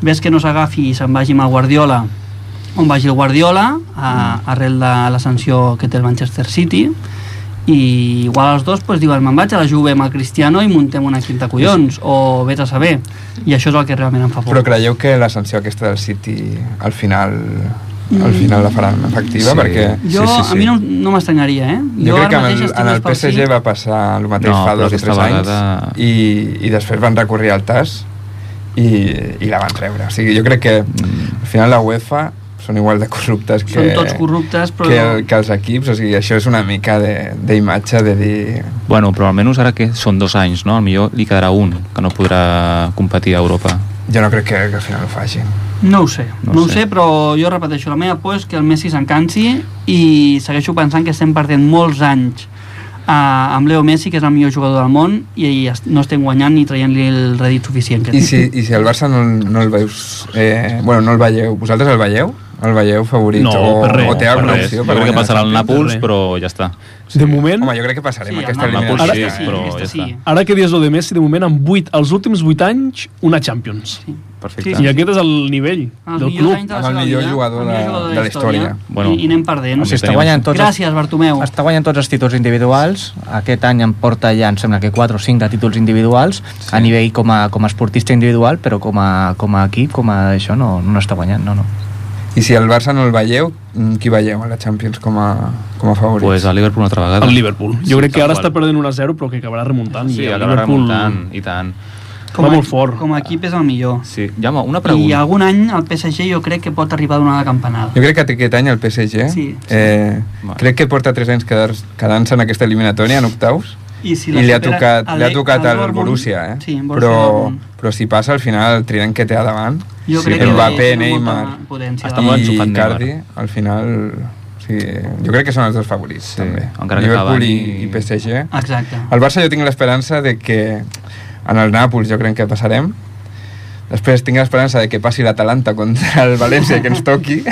Speaker 4: ves que no s'agafi i se'n vagi amb el Guardiola, on vagi el Guardiola, a,
Speaker 1: Mm.
Speaker 4: arrel de la sanció que té el Manchester City, i igual els dos pues, diuen me'n vaig a la Juve amb el Cristiano i muntem un equip de collons o vés a saber i això és el que realment em fa por
Speaker 1: Però creieu que la sanció aquesta del City al final al final la faran efectiva?
Speaker 3: Sí.
Speaker 1: Perquè...
Speaker 4: jo, a mi no, no m'estranyaria eh?
Speaker 1: Jo, crec que
Speaker 4: ara
Speaker 1: en
Speaker 4: mateix
Speaker 1: el,
Speaker 4: estic
Speaker 1: en el
Speaker 4: més pel sí.
Speaker 1: PSG va passar el mateix
Speaker 3: No,
Speaker 1: fa
Speaker 3: però
Speaker 1: dos o
Speaker 3: aquesta
Speaker 1: tres anys
Speaker 3: vegada-
Speaker 1: i, i després van recórrer al TAS i, i la van treure. O sigui, jo crec que mm, al final la UEFA són igual de corruptes que...
Speaker 4: Són tots corruptes, però-
Speaker 1: Que, el, que els equips, o sigui, això és una mica de- d'imatge de, de dir...
Speaker 3: Bueno, però almenys ara que són dos anys, no? Millor li quedarà un, que no podrà competir a Europa.
Speaker 1: Jo no crec que, que al final ho facin.
Speaker 4: no ho sé,
Speaker 3: No
Speaker 4: no,
Speaker 3: ho
Speaker 4: ho
Speaker 3: sé.
Speaker 4: sé però jo repeteixo, la meva por és que el Messi se'n cansi i segueixo pensant que estem perdent molts anys eh, amb Leo Messi que és el millor jugador del món i est- no estem guanyant ni traient-li el rèdit suficient que
Speaker 1: I
Speaker 4: té.
Speaker 1: si, i si el Barça no, el- no el veus... Eh, bueno, no el veieu. Vosaltres el veieu? El veieu favorit?
Speaker 2: No,
Speaker 1: o,
Speaker 2: per res,
Speaker 1: o té alguna
Speaker 3: res.
Speaker 1: opció?
Speaker 3: Jo
Speaker 1: per
Speaker 3: crec que
Speaker 1: guanyar?
Speaker 3: passarà el Nàpols,
Speaker 2: res.
Speaker 3: però ja està.
Speaker 2: Sí. De moment,
Speaker 1: Home, jo crec que passarem
Speaker 4: Sí,
Speaker 1: aquesta
Speaker 4: el
Speaker 3: Nàpols
Speaker 1: eliminació.
Speaker 3: sí,
Speaker 1: eh?
Speaker 3: però ja
Speaker 4: aquesta
Speaker 3: està.
Speaker 2: ara que dius lo de Messi, de moment, amb 8, els últims 8 anys, una Champions.
Speaker 3: Perfecte.
Speaker 2: I aquest és el nivell
Speaker 4: Els
Speaker 2: del
Speaker 4: millors anys de
Speaker 2: club.
Speaker 4: la
Speaker 1: Amb el
Speaker 4: seva
Speaker 1: millor
Speaker 4: vida,
Speaker 1: jugador
Speaker 4: el millor
Speaker 1: de-
Speaker 4: jugador
Speaker 1: de la història.
Speaker 3: Bueno.
Speaker 4: I, i anem perdent
Speaker 3: O sigui,
Speaker 6: Està
Speaker 3: Teníem-
Speaker 6: guanyant tots els
Speaker 4: Gràcies, Bartomeu.
Speaker 6: Està guanyant tots els títols individuals, aquest any em porta ja, em sembla que 4 o 5 de títols individuals, sí. a nivell com a, com a esportista individual, però com a, com a equip, com a això, no, no està guanyant, no, no.
Speaker 1: I si el Barça no el veieu, mm, qui veieu a la Champions com a, com a favorit?
Speaker 3: Pues a Liverpool una altra vegada.
Speaker 2: El Liverpool. Jo
Speaker 3: Sí,
Speaker 2: crec que
Speaker 3: tal
Speaker 2: ara
Speaker 3: qual.
Speaker 2: està perdent 1 a 0, però que acabarà remuntant.
Speaker 3: Sí,
Speaker 2: i el
Speaker 3: acabarà
Speaker 2: Liverpool-
Speaker 3: remuntant, i tant.
Speaker 2: Com va molt fort.
Speaker 4: Com a equip és el millor.
Speaker 3: Sí. Jaume, una
Speaker 4: I
Speaker 3: pregunta.
Speaker 4: algun any el PSG jo crec que pot arribar a donar la campanada.
Speaker 1: Jo crec que aquest any el
Speaker 4: Sí,
Speaker 1: PSG
Speaker 4: sí.
Speaker 1: Eh,
Speaker 3: Bueno.
Speaker 1: crec que porta 3 anys quedar- quedant-se en aquesta eliminatòria en octaus
Speaker 4: I, si
Speaker 1: i
Speaker 4: la
Speaker 1: li ha
Speaker 4: supera
Speaker 1: tocat, li ha
Speaker 4: Ale-
Speaker 1: tocat
Speaker 4: el
Speaker 1: al
Speaker 4: Dortmund-
Speaker 1: Borussia, eh?
Speaker 4: Sí, en Borussia
Speaker 1: però,
Speaker 4: Dortmund.
Speaker 1: però si passa al final el trident que té a davant
Speaker 4: Jo
Speaker 3: Sí,
Speaker 4: crec
Speaker 3: però-
Speaker 4: que
Speaker 1: Mbappé,
Speaker 4: té molta
Speaker 1: Neymar.
Speaker 4: Potència,
Speaker 3: Està
Speaker 4: davant.
Speaker 3: molt
Speaker 1: i
Speaker 3: enxufat Neymar.
Speaker 1: Cardi al final o sigui, jo crec que són els dos favorits
Speaker 3: Sí,
Speaker 1: sí, també.
Speaker 3: encara que
Speaker 1: Liverpool i,
Speaker 3: Cavani-
Speaker 1: i PSG
Speaker 4: Exacte.
Speaker 1: el Barça jo tinc l'esperança de que en el Nàpols jo crec que passarem després tinc l'esperança de que passi l'Atalanta contra el València i que ens toqui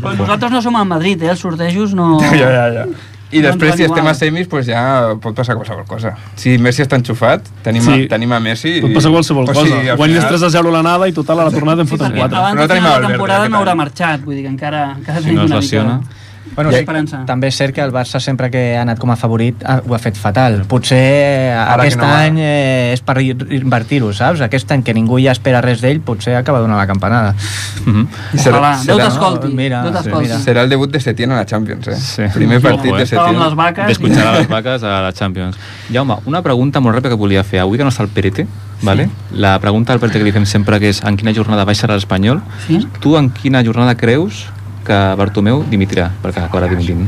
Speaker 4: Però nosaltres no som al Madrid, eh? Els sortejos no...
Speaker 1: ja, ja, ja. I
Speaker 4: No ens
Speaker 1: després,
Speaker 4: van
Speaker 1: si estem
Speaker 4: igual.
Speaker 1: a semis, pues ja pot passar qualsevol cosa. Si Messi està enxufat, tenim, sí.
Speaker 2: Sí.
Speaker 1: a, tenim a Messi... i-
Speaker 2: Pot passar qualsevol
Speaker 1: o
Speaker 2: cosa.
Speaker 1: sigui, al
Speaker 2: Guanyes
Speaker 1: final-
Speaker 2: 3 a 0 l'anada i total a la tornada en foten
Speaker 4: Perquè
Speaker 2: 4.
Speaker 4: abans
Speaker 1: No
Speaker 4: de
Speaker 1: tenim eh?
Speaker 4: final de la
Speaker 1: el Valverde,
Speaker 4: temporada
Speaker 1: aquest
Speaker 4: no haurà
Speaker 1: any.
Speaker 4: marxat, vull dir que encara, encara
Speaker 3: Si no es
Speaker 4: una
Speaker 3: lesiona...
Speaker 4: mica
Speaker 6: Bueno,
Speaker 4: Ja-
Speaker 6: sí,
Speaker 4: Esperança.
Speaker 6: també és cert que el Barça sempre que ha anat com a favorit ah, ho ha fet fatal. Potser eh,
Speaker 1: Ara que
Speaker 6: aquest
Speaker 1: no va.
Speaker 6: any eh, és per i- invertir-ho, saps? Aquest any que ningú ja espera res d'ell, potser acaba donant la campanada.
Speaker 3: Mhm.
Speaker 1: I serà-
Speaker 4: Ojalà, Déu
Speaker 1: serà-
Speaker 4: t'escolti,
Speaker 6: Mira,
Speaker 4: Déu
Speaker 6: sí,
Speaker 4: t'escolti.
Speaker 6: mira.
Speaker 1: Serà el debut de Setién a la Champions, eh?
Speaker 3: Sí.
Speaker 1: Primer partit
Speaker 3: Ojo, eh?
Speaker 1: de
Speaker 4: Estava amb
Speaker 1: Setién.
Speaker 4: les vaques...
Speaker 3: Descutxarà les vaques a la Champions. Jaume, una pregunta molt ràpida que volia fer. Avui que no està el Perete, vale? la pregunta del Perete que li fem sempre que és en quina jornada baixarà l'Espanyol,
Speaker 4: Sí?
Speaker 3: tu en quina jornada creus que Bartomeu dimitirà? Perquè acabarà dimitint.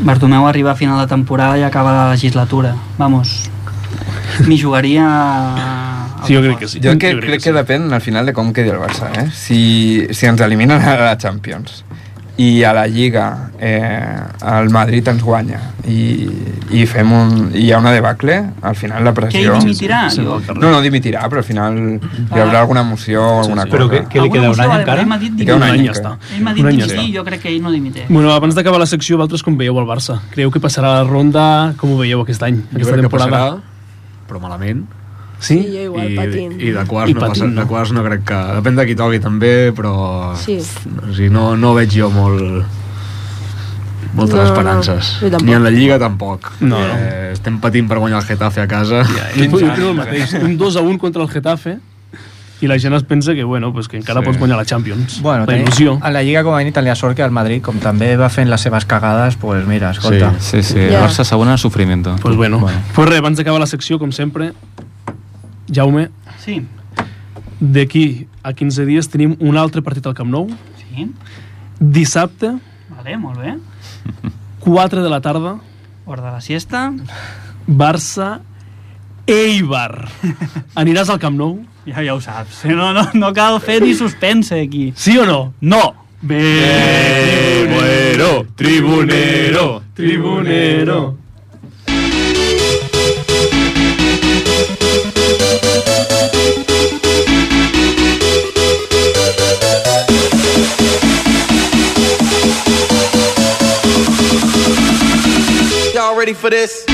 Speaker 4: Bartomeu arriba a final de temporada i acaba la legislatura. Vamos, m'hi jugaria... a-
Speaker 2: Sí, jo crec que sí.
Speaker 1: Jo que, crec que depèn al final de com quedi el Barça, eh? Si, si ens eliminen a la Champions i a la Lliga eh, el Madrid ens guanya i, i fem un, i hi ha una debacle, al final la
Speaker 4: Què hi
Speaker 1: pressió...
Speaker 4: dimitirà? Jo,
Speaker 1: No, no dimitirà, però al final hi haurà alguna moció o alguna
Speaker 5: sí.
Speaker 1: cosa.
Speaker 5: Però què- què- li
Speaker 4: Alguna
Speaker 5: queda, un
Speaker 4: moció
Speaker 5: any
Speaker 4: va-
Speaker 5: encara?
Speaker 4: Ell m'ha dit
Speaker 1: Li queda un
Speaker 4: dimitir.
Speaker 1: any,
Speaker 2: ja està.
Speaker 4: Ell m'ha
Speaker 2: Un
Speaker 4: dit
Speaker 2: any ja
Speaker 4: dimitir,
Speaker 2: està.
Speaker 4: jo crec que ell no dimitirà.
Speaker 2: Bueno, abans d'acabar la secció, vosaltres com veieu el Barça? Creieu que passarà la ronda? Com ho veieu aquest any,
Speaker 9: Jo
Speaker 2: aquesta
Speaker 9: crec que
Speaker 2: temporada?
Speaker 9: passarà, però malament.
Speaker 2: Sí?
Speaker 8: Sí, jo igual,
Speaker 9: I,
Speaker 8: patint.
Speaker 9: I de quarts,
Speaker 2: I
Speaker 9: no
Speaker 2: patint,
Speaker 9: passa,
Speaker 2: no.
Speaker 9: de quarts no crec que... Depèn de qui toqui també, però...
Speaker 8: Sí.
Speaker 9: O sigui, no, no veig jo molt moltes
Speaker 8: No,
Speaker 9: no,
Speaker 8: no,
Speaker 9: esperances.
Speaker 8: jo tampoc.
Speaker 9: Ni en la Lliga tampoc.
Speaker 2: No, no.
Speaker 9: Eh, estem patint per guanyar el Getafe a casa. Yeah.
Speaker 2: Jo jo crec el mateix. Un 2 a 1 contra el Getafe i la gent es pensa que, bueno, pues que encara
Speaker 9: Sí.
Speaker 2: pots guanyar la Champions.
Speaker 6: Bueno,
Speaker 2: la
Speaker 6: també,
Speaker 2: il·lusió.
Speaker 4: Ah,
Speaker 6: a la Lliga com a mínim tenia sort que el Madrid, com també va fent les seves cagades, doncs pues mira, escolta. Sí.
Speaker 3: Sí, sí.
Speaker 8: Ja.
Speaker 3: Yeah. Barça segona en sofrimiento.
Speaker 2: Pues bueno. bueno. Pues res, abans d'acabar la secció, com sempre, Jaume,
Speaker 4: Sí,
Speaker 2: d'aquí a 15 dies tenim un altre partit al Camp Nou.
Speaker 4: sí,
Speaker 2: Dissabte,
Speaker 4: vale, molt bé.
Speaker 2: 4 de la tarda,
Speaker 4: Hora de la siesta,
Speaker 2: Barça Eibar. Aniràs al Camp Nou?
Speaker 4: ja, ja ho saps. No, no, no cal fer ni suspense aquí.
Speaker 2: Sí o no?
Speaker 4: No!
Speaker 2: Bé.
Speaker 3: Tribunero, tribunero.
Speaker 2: Tribunero.
Speaker 7: Y'all ready for this?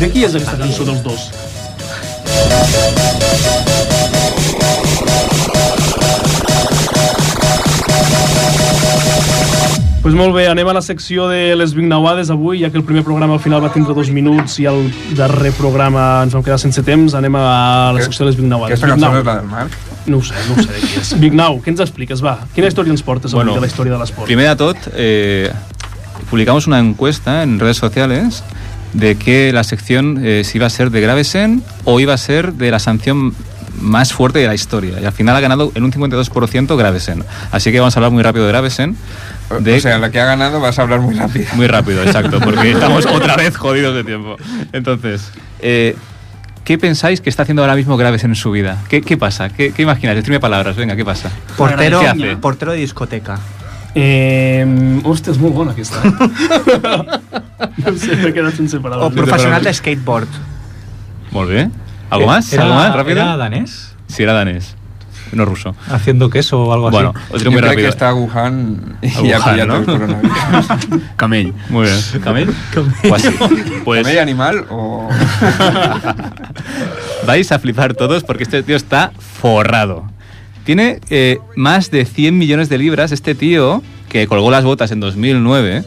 Speaker 2: De qui és aquesta cançó dels dos? Pues molt bé, anem a la secció de les Vignauades avui, ja que el primer programa al final va tindre dos minuts i el darrer programa ens vam quedar sense temps, anem a la secció de les Vignauades.
Speaker 1: Aquesta cançó no
Speaker 2: Vignau,
Speaker 1: és la del Marc?
Speaker 2: no ho sé, no ho sé de qui és. Vignau, què ens expliques, va? Quina història ens portes avui
Speaker 3: Bueno,
Speaker 2: de la història de l'esport?
Speaker 3: Primer de tot, eh, publicamos una encuesta en redes sociales de que la sección eh, si iba a ser de Gravesen o iba a ser de la sanción más fuerte de la historia. Y al final ha ganado en un 52% Gravesen. Así que vamos a hablar muy rápido de Gravesen.
Speaker 1: O-
Speaker 3: de-
Speaker 1: O sea, la que ha ganado vas a hablar muy rápido.
Speaker 3: Muy rápido, exacto, porque estamos otra vez jodidos de tiempo. Entonces, eh, ¿qué pensáis que está haciendo ahora mismo Gravesen en su vida? ¿Qué, qué pasa? ¿Qué, qué imagináis? Decidme palabras, venga, ¿qué pasa?
Speaker 6: Portero,
Speaker 3: ¿Qué hace?
Speaker 6: portero de discoteca.
Speaker 2: Eh, hòstia, és molt bona aquesta. no sé, m'he quedat sense
Speaker 6: O
Speaker 2: paraules.
Speaker 6: professional de skateboard.
Speaker 3: Molt bé. ¿Algo más?
Speaker 5: Era,
Speaker 3: ¿Algo más? ¿Rápido?
Speaker 5: era danés?
Speaker 3: Sí, era danés. No ruso.
Speaker 5: Haciendo queso o algo
Speaker 3: Bueno,
Speaker 5: así.
Speaker 3: os
Speaker 1: Yo
Speaker 3: digo muy
Speaker 1: creo que
Speaker 3: rápido.
Speaker 1: está Wuhan
Speaker 3: A
Speaker 1: y ha
Speaker 3: Wuhan,
Speaker 1: pillado
Speaker 3: ¿no?
Speaker 1: el coronavirus.
Speaker 9: Camell.
Speaker 3: Muy bien. ¿Camel? O así. Pues
Speaker 1: ¿Comedia animal o...?
Speaker 3: vais a flipar todos porque este tío está forrado. Tiene eh, más de 100 millones de libras este tío que colgó las botas en 2009.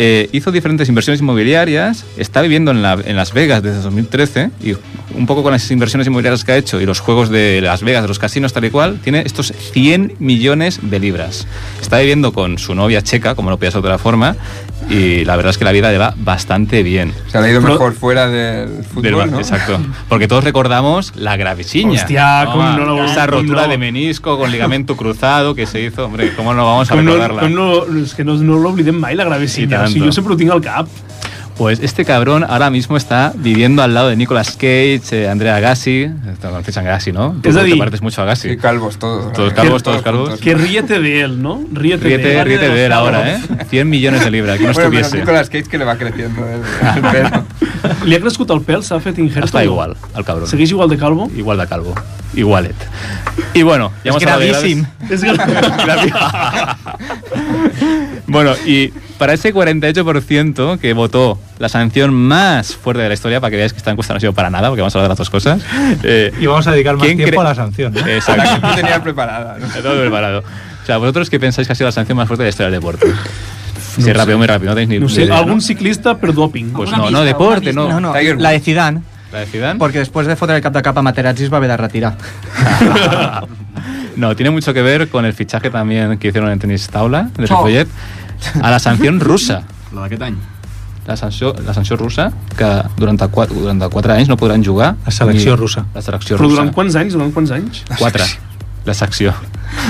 Speaker 3: eh, hizo diferentes inversiones inmobiliarias, está viviendo en, la- en Las Vegas desde 2013 y un poco con las inversiones inmobiliarias que ha hecho y los juegos de Las Vegas, de los casinos, tal y cual, tiene estos 100 millones de libras. Está viviendo con su novia checa, como no podía ser de otra forma, y la verdad es que la vida le va bastante bien.
Speaker 1: Se le ha ido
Speaker 2: Pro-
Speaker 1: mejor fuera del fútbol,
Speaker 3: Del Bar-
Speaker 1: ¿no?
Speaker 3: Exacto. Porque todos recordamos la graveciña.
Speaker 2: Hostia, cómo
Speaker 3: Toma,
Speaker 2: no lo-
Speaker 3: Esa
Speaker 2: cómo
Speaker 3: rotura
Speaker 2: no.
Speaker 3: de menisco con ligamento cruzado que se hizo. Hombre, ¿cómo no vamos a
Speaker 2: Com no,
Speaker 3: recordarla?
Speaker 2: com no, és que no, no l'oblidem mai, la
Speaker 3: I
Speaker 2: gravecina.
Speaker 3: tant.
Speaker 2: O sigui, jo sempre ho tinc al cap.
Speaker 3: Pues este cabrón ahora mismo está viviendo al lado de Nicolas Cage, eh, Andrea Agassi. Eh, Te conoces a Agassi, ¿no? Tú
Speaker 2: Es
Speaker 3: te
Speaker 2: decir,
Speaker 3: pareces mucho a Agassi.
Speaker 1: Sí, calvos todos.
Speaker 3: Todos
Speaker 1: Eh,
Speaker 3: calvos, todos
Speaker 1: juntos.
Speaker 3: calvos.
Speaker 2: Que ríete de él, ¿no? Ríete, de
Speaker 3: Ríete,
Speaker 2: él.
Speaker 3: ríete de él ahora, ¿eh? 100 millones de libras, que no
Speaker 1: Bueno, pero
Speaker 3: estuviese. Ah,
Speaker 1: Nicolas Cage que le va creciendo el, el pelo.
Speaker 2: Li ha crescut el pèl, s'ha fet injerto.
Speaker 3: Está igual al cabrón.
Speaker 2: Segueix igual de calvo?
Speaker 3: Igual de calvo. Igualet. Y bueno, ya hemos
Speaker 6: Es
Speaker 3: hablado de graves-
Speaker 6: gravísimo.
Speaker 2: És que...
Speaker 3: Bueno, y para ese 48% que votó la sanción más fuerte de la historia, para que veáis que esta encuesta no ha sido para nada, porque vamos a hablar de las dos cosas. eh,
Speaker 5: Y vamos a dedicar más
Speaker 3: ¿Quién
Speaker 5: tiempo
Speaker 3: cre-
Speaker 5: a la sanción. ¿no?
Speaker 1: La que
Speaker 3: Exacto.
Speaker 1: tú tenías preparada. ¿no?
Speaker 3: Todo preparado. O sea, ¿vosotros qué pensáis que ha sido la sanción más fuerte de la historia del deporte? Si es rápido, muy rápido, no tenéis ni
Speaker 2: No ho sé,
Speaker 3: idea,
Speaker 2: algun ciclista per doping.
Speaker 3: Pues
Speaker 6: Alguna
Speaker 3: no, no,
Speaker 6: pista,
Speaker 3: deporte,
Speaker 6: alguna
Speaker 3: no.
Speaker 6: pista.
Speaker 1: Tiger
Speaker 6: la de
Speaker 1: Woods.
Speaker 6: Zidane,
Speaker 3: ¿La de Zidane?
Speaker 6: porque después de fotre el cap de cap a Materazzi es va haver de retirar.
Speaker 3: no, tiene mucho que ver con el fichaje también que hicieron en tenis tabla de
Speaker 4: Cho.
Speaker 3: Ripollet a la sanción rusa.
Speaker 9: La d'aquest any.
Speaker 3: La sanció, la sanció russa, que durant, quatre, durant quatre anys no podran jugar.
Speaker 5: La selecció russa.
Speaker 3: La selecció
Speaker 2: Però
Speaker 3: russa.
Speaker 2: durant quants anys? Durant quants anys?
Speaker 3: Quatre. La secció.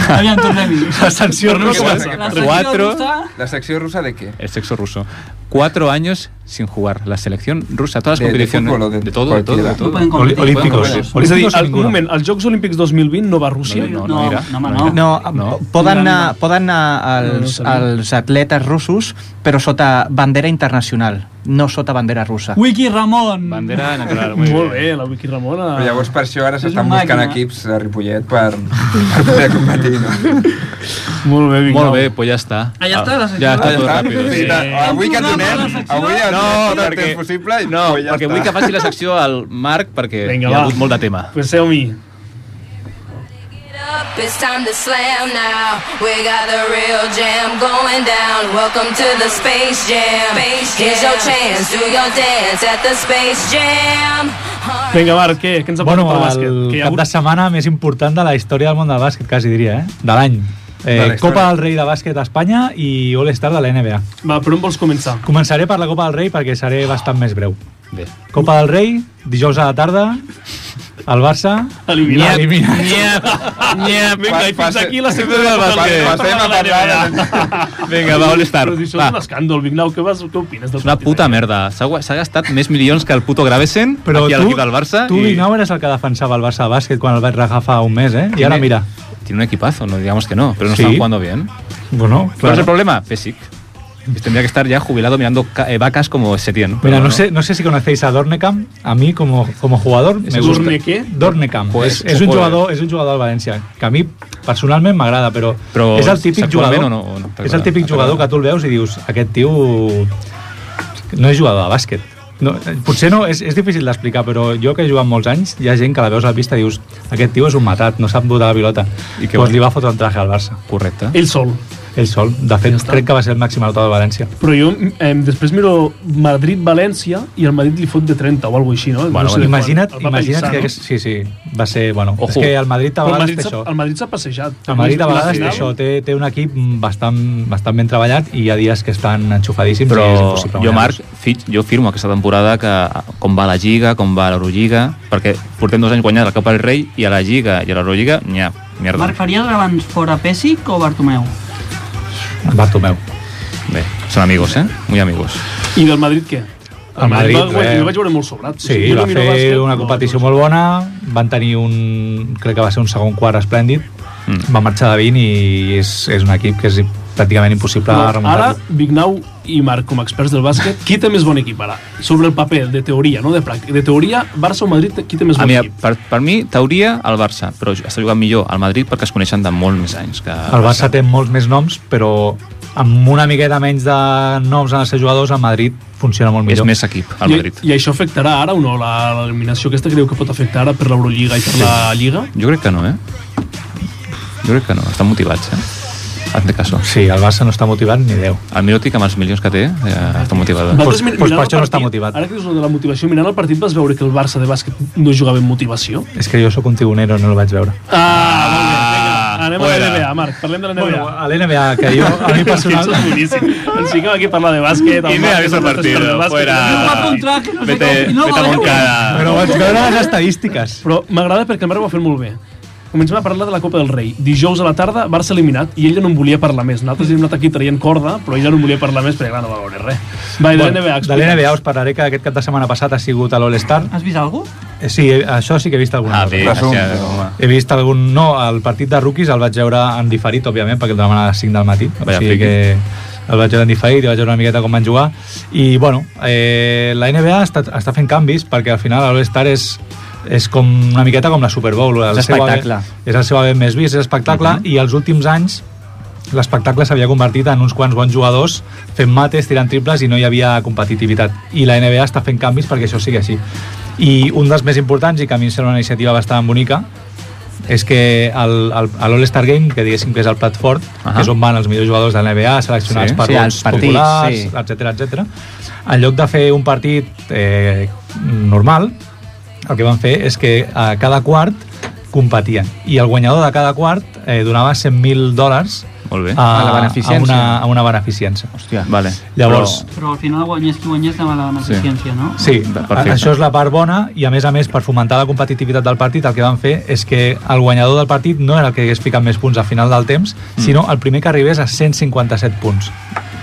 Speaker 4: Aviam, tornem-hi.
Speaker 2: La sanció
Speaker 1: no comença.
Speaker 4: La
Speaker 3: Cuatro.
Speaker 4: secció russa,
Speaker 1: ¿La sección rusa de qué?
Speaker 3: El sexo ruso. Cuatro años sin jugar. La selección rusa, todas las
Speaker 1: De- de
Speaker 3: competiciones.
Speaker 1: fútbol o de
Speaker 3: todo, de todo, de
Speaker 1: cualquiera.
Speaker 3: todo.
Speaker 4: No pueden
Speaker 5: Oli-
Speaker 4: competir.
Speaker 5: Olímpicos.
Speaker 1: Bueno,
Speaker 2: És a dir,
Speaker 5: Olímpicos
Speaker 2: al, un
Speaker 5: ninguna.
Speaker 2: moment, als Jocs Olímpics 2020 no va a Rússia?
Speaker 3: No,
Speaker 4: No,
Speaker 3: no, mira.
Speaker 4: no, home,
Speaker 3: No.
Speaker 4: no.
Speaker 6: No,
Speaker 3: No.
Speaker 6: poden
Speaker 4: Gran
Speaker 6: anar,
Speaker 4: imatge.
Speaker 6: poden anar
Speaker 2: Ah. No, no ho
Speaker 6: els,
Speaker 2: sabia.
Speaker 6: els atletes russos, però sota bandera internacional, no sota bandera russa.
Speaker 4: Wiki Ramon.
Speaker 3: Bandera natural. Muy
Speaker 2: Molt
Speaker 3: bien.
Speaker 2: bé, la Wiki Ramona.
Speaker 3: Ah.
Speaker 1: Però llavors per això ara
Speaker 4: És
Speaker 1: s'estan
Speaker 4: una
Speaker 1: buscant
Speaker 4: màquina.
Speaker 1: equips pues, a Ripollet per, per poder competir, no?
Speaker 2: Molt bé, Vignau.
Speaker 3: Molt bé, pues ya está.
Speaker 4: Ah, ya está, la secció.
Speaker 3: Ya está
Speaker 1: Ja
Speaker 3: todo
Speaker 1: està.
Speaker 3: rápido.
Speaker 1: Sí,
Speaker 3: sí.
Speaker 1: tant. Avui que donem, avui el
Speaker 3: No,
Speaker 1: no, perquè
Speaker 3: perquè-
Speaker 1: és possible i
Speaker 3: No,
Speaker 1: pues ja
Speaker 3: perquè
Speaker 1: està.
Speaker 3: vull que faci la secció al Marc perquè
Speaker 2: Vinga,
Speaker 3: hi ha
Speaker 2: va.
Speaker 3: hagut molt de tema.
Speaker 2: Pues seu-m'hi.
Speaker 10: It's time to slam now. We got the real jam going down. Welcome to the Space Jam. Here's your chance. Do your dance at the Space Jam.
Speaker 2: Vinga, Marc, què? Què ens ha
Speaker 5: Bueno,
Speaker 2: portat el bàsquet?
Speaker 5: el
Speaker 2: Que hi ha
Speaker 5: cap de
Speaker 2: hagut...
Speaker 5: setmana més important de la història del món del bàsquet, quasi diria, eh? de l'any.
Speaker 1: De la
Speaker 5: Eh,
Speaker 1: història.
Speaker 5: Copa del Rei de bàsquet a Espanya i All-Star de la NBA.
Speaker 2: Va, per on vols començar?
Speaker 5: Començaré per la Copa del Rei perquè seré bastant més breu.
Speaker 3: Bé.
Speaker 5: Copa del Rei, dijous a la tarda, el Barça...
Speaker 2: Eliminat.
Speaker 5: Eliminat.
Speaker 2: Nyep, vinga, i fins
Speaker 1: Passa-
Speaker 2: aquí la secció del
Speaker 1: Passa-
Speaker 2: bàsquet.
Speaker 1: Passem a parlar.
Speaker 3: Vinga, va, All-Star.
Speaker 2: Però si això és un
Speaker 3: Va.
Speaker 2: escàndol, Vignau, què, vas, què opines? del
Speaker 3: És una
Speaker 2: partit eh?
Speaker 3: puta
Speaker 2: aquest?
Speaker 3: merda. S'ha gua- s'ha gastat més milions que el puto Gravesen
Speaker 5: Però
Speaker 3: aquí a
Speaker 5: tu,
Speaker 3: l'equip del Barça.
Speaker 5: tu
Speaker 3: i-
Speaker 5: Vignau, eres el que defensava el Barça de bàsquet quan el vaig rajar fa un mes, eh? I ara mira.
Speaker 3: Tiene un equipazo, no digamos que no, pero no
Speaker 5: Sí.
Speaker 3: están jugando bien.
Speaker 5: Bueno,
Speaker 3: ¿Cuál es el problema? Pesic. Este Tendría que estar ya jubilado mirando ca- eh, vacas como Setien.
Speaker 5: Mira,
Speaker 3: Pero
Speaker 5: no sé, no sé si conocéis a Dornecam. A mí, como, como jugador, me gusta.
Speaker 2: Dorne què?
Speaker 5: Dornecam.
Speaker 3: Joder,
Speaker 5: és, és, un
Speaker 3: joder.
Speaker 5: jugador, és un jugador del València, que a mi personalment m'agrada, però,
Speaker 3: Però
Speaker 5: és el típic
Speaker 3: sap
Speaker 5: jugador,
Speaker 3: molt bé o no- o no?
Speaker 5: és el típic
Speaker 3: T'agrada?
Speaker 5: jugador que tu el veus i dius aquest tio no és jugador de bàsquet. No, eh, potser no, és, és difícil d'explicar, però jo que he jugat molts anys, hi ha gent que la veus a la pista i dius aquest tio és un matat, no sap botar la pilota.
Speaker 3: I
Speaker 5: I
Speaker 3: què
Speaker 5: doncs
Speaker 3: vol?
Speaker 5: li va fotre un traje al Barça,
Speaker 3: Correcta.
Speaker 2: Ell sol.
Speaker 5: ell sol. De fet, crec que va ser el màxim autor de València.
Speaker 2: Però jo eh, després miro Madrid-València i el Madrid li fot de 30 o alguna cosa així, no?
Speaker 5: Bueno,
Speaker 2: no
Speaker 5: bueno,
Speaker 2: de
Speaker 5: imagina't,
Speaker 2: quan. El va
Speaker 5: imagina't
Speaker 2: pensar,
Speaker 5: que...
Speaker 2: no?
Speaker 5: hagués- Sí, sí, va ser... Bueno, és
Speaker 3: Ojo.
Speaker 5: que el Madrid a
Speaker 2: Però El
Speaker 5: vegades
Speaker 2: Madrid
Speaker 5: té
Speaker 2: s'ha-
Speaker 5: això.
Speaker 2: el Madrid s'ha passejat.
Speaker 5: El Madrid a
Speaker 2: La
Speaker 5: vegades té
Speaker 2: final-
Speaker 5: això, té, té un equip bastant, bastant ben treballat i hi ha dies que estan enxufadíssims i és
Speaker 3: Però
Speaker 5: impossible
Speaker 3: jo, Marc,
Speaker 5: guanyar-los.
Speaker 3: fi- jo firmo aquesta temporada que com va la Lliga, com va l'Eurolliga, perquè portem dos anys guanyant la Copa del Rei i a la Lliga i a l'Eurolliga, nyap, merda.
Speaker 4: Marc, faries abans fora Pessic o Bartomeu?
Speaker 5: Bartomeu.
Speaker 3: Bé, són amigos, eh? Muy amigos.
Speaker 2: I del Madrid què?
Speaker 5: El Madrid,
Speaker 2: va, guanyar,
Speaker 5: res.
Speaker 2: jo vaig veure molt sobrat.
Speaker 5: Sí,
Speaker 2: jo no
Speaker 5: va
Speaker 2: miro bàsquet,
Speaker 5: fer una
Speaker 2: no,
Speaker 5: competició
Speaker 2: no.
Speaker 5: molt bona, van tenir un... crec que va ser un segon quart esplèndid,
Speaker 3: Mm.
Speaker 5: van marxar de 20 i és, és un equip que és pràcticament impossible
Speaker 2: No, ara,
Speaker 5: remuntar-lo.
Speaker 2: Vignau i Marc, com a experts del bàsquet, qui té més bon equip ara? Sobre el paper, de teoria, no de pràctica. De teoria, Barça o Madrid, qui té més
Speaker 3: A
Speaker 2: bon
Speaker 3: mi,
Speaker 2: equip?
Speaker 3: per, per mi, teoria, el Barça, però està jugant millor al Madrid perquè es coneixen de molt més anys que
Speaker 5: El Barça té molts més noms, però amb una miqueta menys de noms en els seus jugadors, el Madrid funciona molt
Speaker 3: És
Speaker 5: millor.
Speaker 3: més equip, el Madrid.
Speaker 2: I, I això afectarà ara o no la- l'eliminació aquesta creu que pot afectar ara per l'Eurolliga i per la Lliga?
Speaker 3: Jo crec que no, eh? Jo crec que no, estan motivats, eh? hazme caso.
Speaker 5: Sí, el Barça no està motivat ni Déu.
Speaker 3: El Mirotic, amb els milions que té, ja està motivat.
Speaker 2: Vosaltres
Speaker 5: Pues-
Speaker 2: mi-
Speaker 5: pues per
Speaker 2: mirant el
Speaker 5: això no està
Speaker 2: partit,
Speaker 5: motivat.
Speaker 2: Ara que dius lo de la motivació, mirant el partit vas veure que el Barça de bàsquet no jugava amb motivació?
Speaker 5: És que jo sóc un tigonero, no el vaig veure.
Speaker 2: Ah, molt bé, vinga, anem a
Speaker 3: fuera.
Speaker 2: l'NBA, Marc, parlem de l'NBA.
Speaker 5: Bueno, a l'NBA, que jo, a mi personal...
Speaker 2: Això és boníssim. Ens fiquem aquí a parlar de bàsquet. el
Speaker 3: I me
Speaker 2: Marc,
Speaker 3: avisa
Speaker 2: que nosaltres
Speaker 3: partido,
Speaker 2: parlem de bàsquet.
Speaker 3: fuera.
Speaker 4: Guapo un traje, no sé com, i no
Speaker 3: a
Speaker 4: valeu.
Speaker 5: Però vaig veure les estadístiques.
Speaker 2: Però m'agrada perquè el Marc ho va fer molt bé. Comencem a parlar de la Copa del Rei. Dijous a la tarda, Barça eliminat, i ella no en volia parlar més. Nosaltres hem anat aquí traient corda, però ella no en volia parlar més perquè, clar, no va veure res. Va, i de l'NBA,
Speaker 5: de l'NBA us parlaré que aquest cap de setmana passat ha sigut a l'All-Star.
Speaker 4: Has vist alguna
Speaker 5: Eh, Sí, eh, això sí que he vist alguna
Speaker 3: Ah,
Speaker 5: cosa.
Speaker 3: bé,
Speaker 1: Resum.
Speaker 3: gràcies, home.
Speaker 5: He vist algun... No, el partit de rookies el vaig veure en diferit, òbviament, perquè el demana a les 5 del matí. O
Speaker 3: Vaya
Speaker 5: sigui
Speaker 3: friki.
Speaker 5: que el vaig veure en diferit, i vaig veure una miqueta com van jugar. I, bueno, eh, la NBA està, està fent canvis, perquè al final l'All-Star és és com una miqueta com la Super Bowl. el
Speaker 6: És
Speaker 5: seu
Speaker 6: espectacle. Mhm.
Speaker 5: haver- És el seu haver més vist, és espectacle, i els últims anys l'espectacle s'havia convertit en uns quants bons jugadors fent mates, tirant triples i no hi havia competitivitat. I la NBA està fent canvis perquè això sigui així. I un dels més importants, i que a mi em sembla una iniciativa bastant bonica, és que el- el- a l'All-Star Game, que diguéssim que és el plat fort, uh -huh.
Speaker 3: Ahà.
Speaker 5: que és on van els millors jugadors de l'NBA, seleccionats
Speaker 3: Sí,
Speaker 5: sí, per
Speaker 6: sí,
Speaker 5: vots
Speaker 6: els partits,
Speaker 5: populars,
Speaker 6: sí.
Speaker 5: etc etc. en lloc de fer un partit eh, normal, el que van fer és que a cada quart competien. I el guanyador de cada quart eh, donava 100.000 dòlars
Speaker 3: Molt bé.
Speaker 5: a,
Speaker 6: A la beneficència.
Speaker 5: A una, a una beneficència.
Speaker 6: Hòstia.
Speaker 3: Vale.
Speaker 5: Llavors,
Speaker 4: Però al final guanyés qui guanyés demà la beneficència, no?
Speaker 5: Sí,
Speaker 3: Perfecte.
Speaker 5: això és la part bona i a més a més per fomentar la competitivitat del partit el que van fer és que el guanyador del partit no era el que hagués ficat més punts al final del temps
Speaker 3: Mm.
Speaker 5: sinó el primer que arribés a 157 punts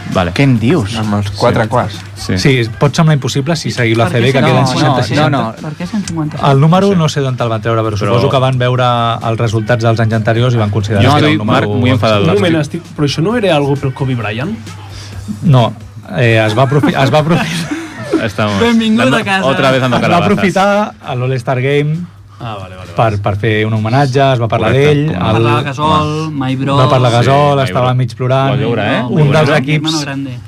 Speaker 3: Però, vale.
Speaker 6: Què em dius?
Speaker 1: Amb els quatre quarts.
Speaker 3: Sí.
Speaker 5: sí, pot semblar impossible si seguiu la
Speaker 4: Per què
Speaker 5: CB que
Speaker 4: cent-
Speaker 5: queden
Speaker 6: no,
Speaker 5: 60-60
Speaker 6: no, no.
Speaker 4: Per què 150?
Speaker 5: el número no sé d'on te'l van treure però,
Speaker 3: Però-
Speaker 5: suposo que van veure els resultats dels anys anteriors i van considerar
Speaker 3: Jo
Speaker 5: que era
Speaker 3: estoy,
Speaker 5: un número...
Speaker 3: Marc, muy enfadado.
Speaker 2: Un moment, estic... Però això no era algo pel Kobe Bryant?
Speaker 5: no, eh, es va aprofitar es va aprofitar,
Speaker 3: Estamos.
Speaker 4: Benvingut
Speaker 3: Dando-
Speaker 4: a casa.
Speaker 3: Otra vez ando
Speaker 5: es va
Speaker 3: calabazas.
Speaker 5: aprofitar a l'All-Star Game
Speaker 2: Ah, vale, vale. vale.
Speaker 5: per, per fer un homenatge, es va parlar
Speaker 3: Correcte,
Speaker 5: d'ell,
Speaker 3: com
Speaker 4: Va
Speaker 3: el-
Speaker 4: parlar de Gasol, Maibro...
Speaker 5: va parlar
Speaker 3: Sí,
Speaker 5: Gasol,
Speaker 3: Maibro.
Speaker 5: estava mig
Speaker 3: Ho
Speaker 5: plorant.
Speaker 3: va veure, eh?
Speaker 5: Un
Speaker 3: Ho va
Speaker 5: dels
Speaker 3: veure.
Speaker 5: equips,
Speaker 4: Hermano grande.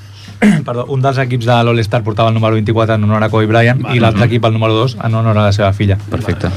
Speaker 5: perdó, un dels equips de l'All-Star portava el número 24 en honor a Kobe Bryant
Speaker 2: Vale.
Speaker 5: i l'altre
Speaker 3: Mm-hmm.
Speaker 5: equip el número 2 en honor a la seva filla.
Speaker 3: Perfecte.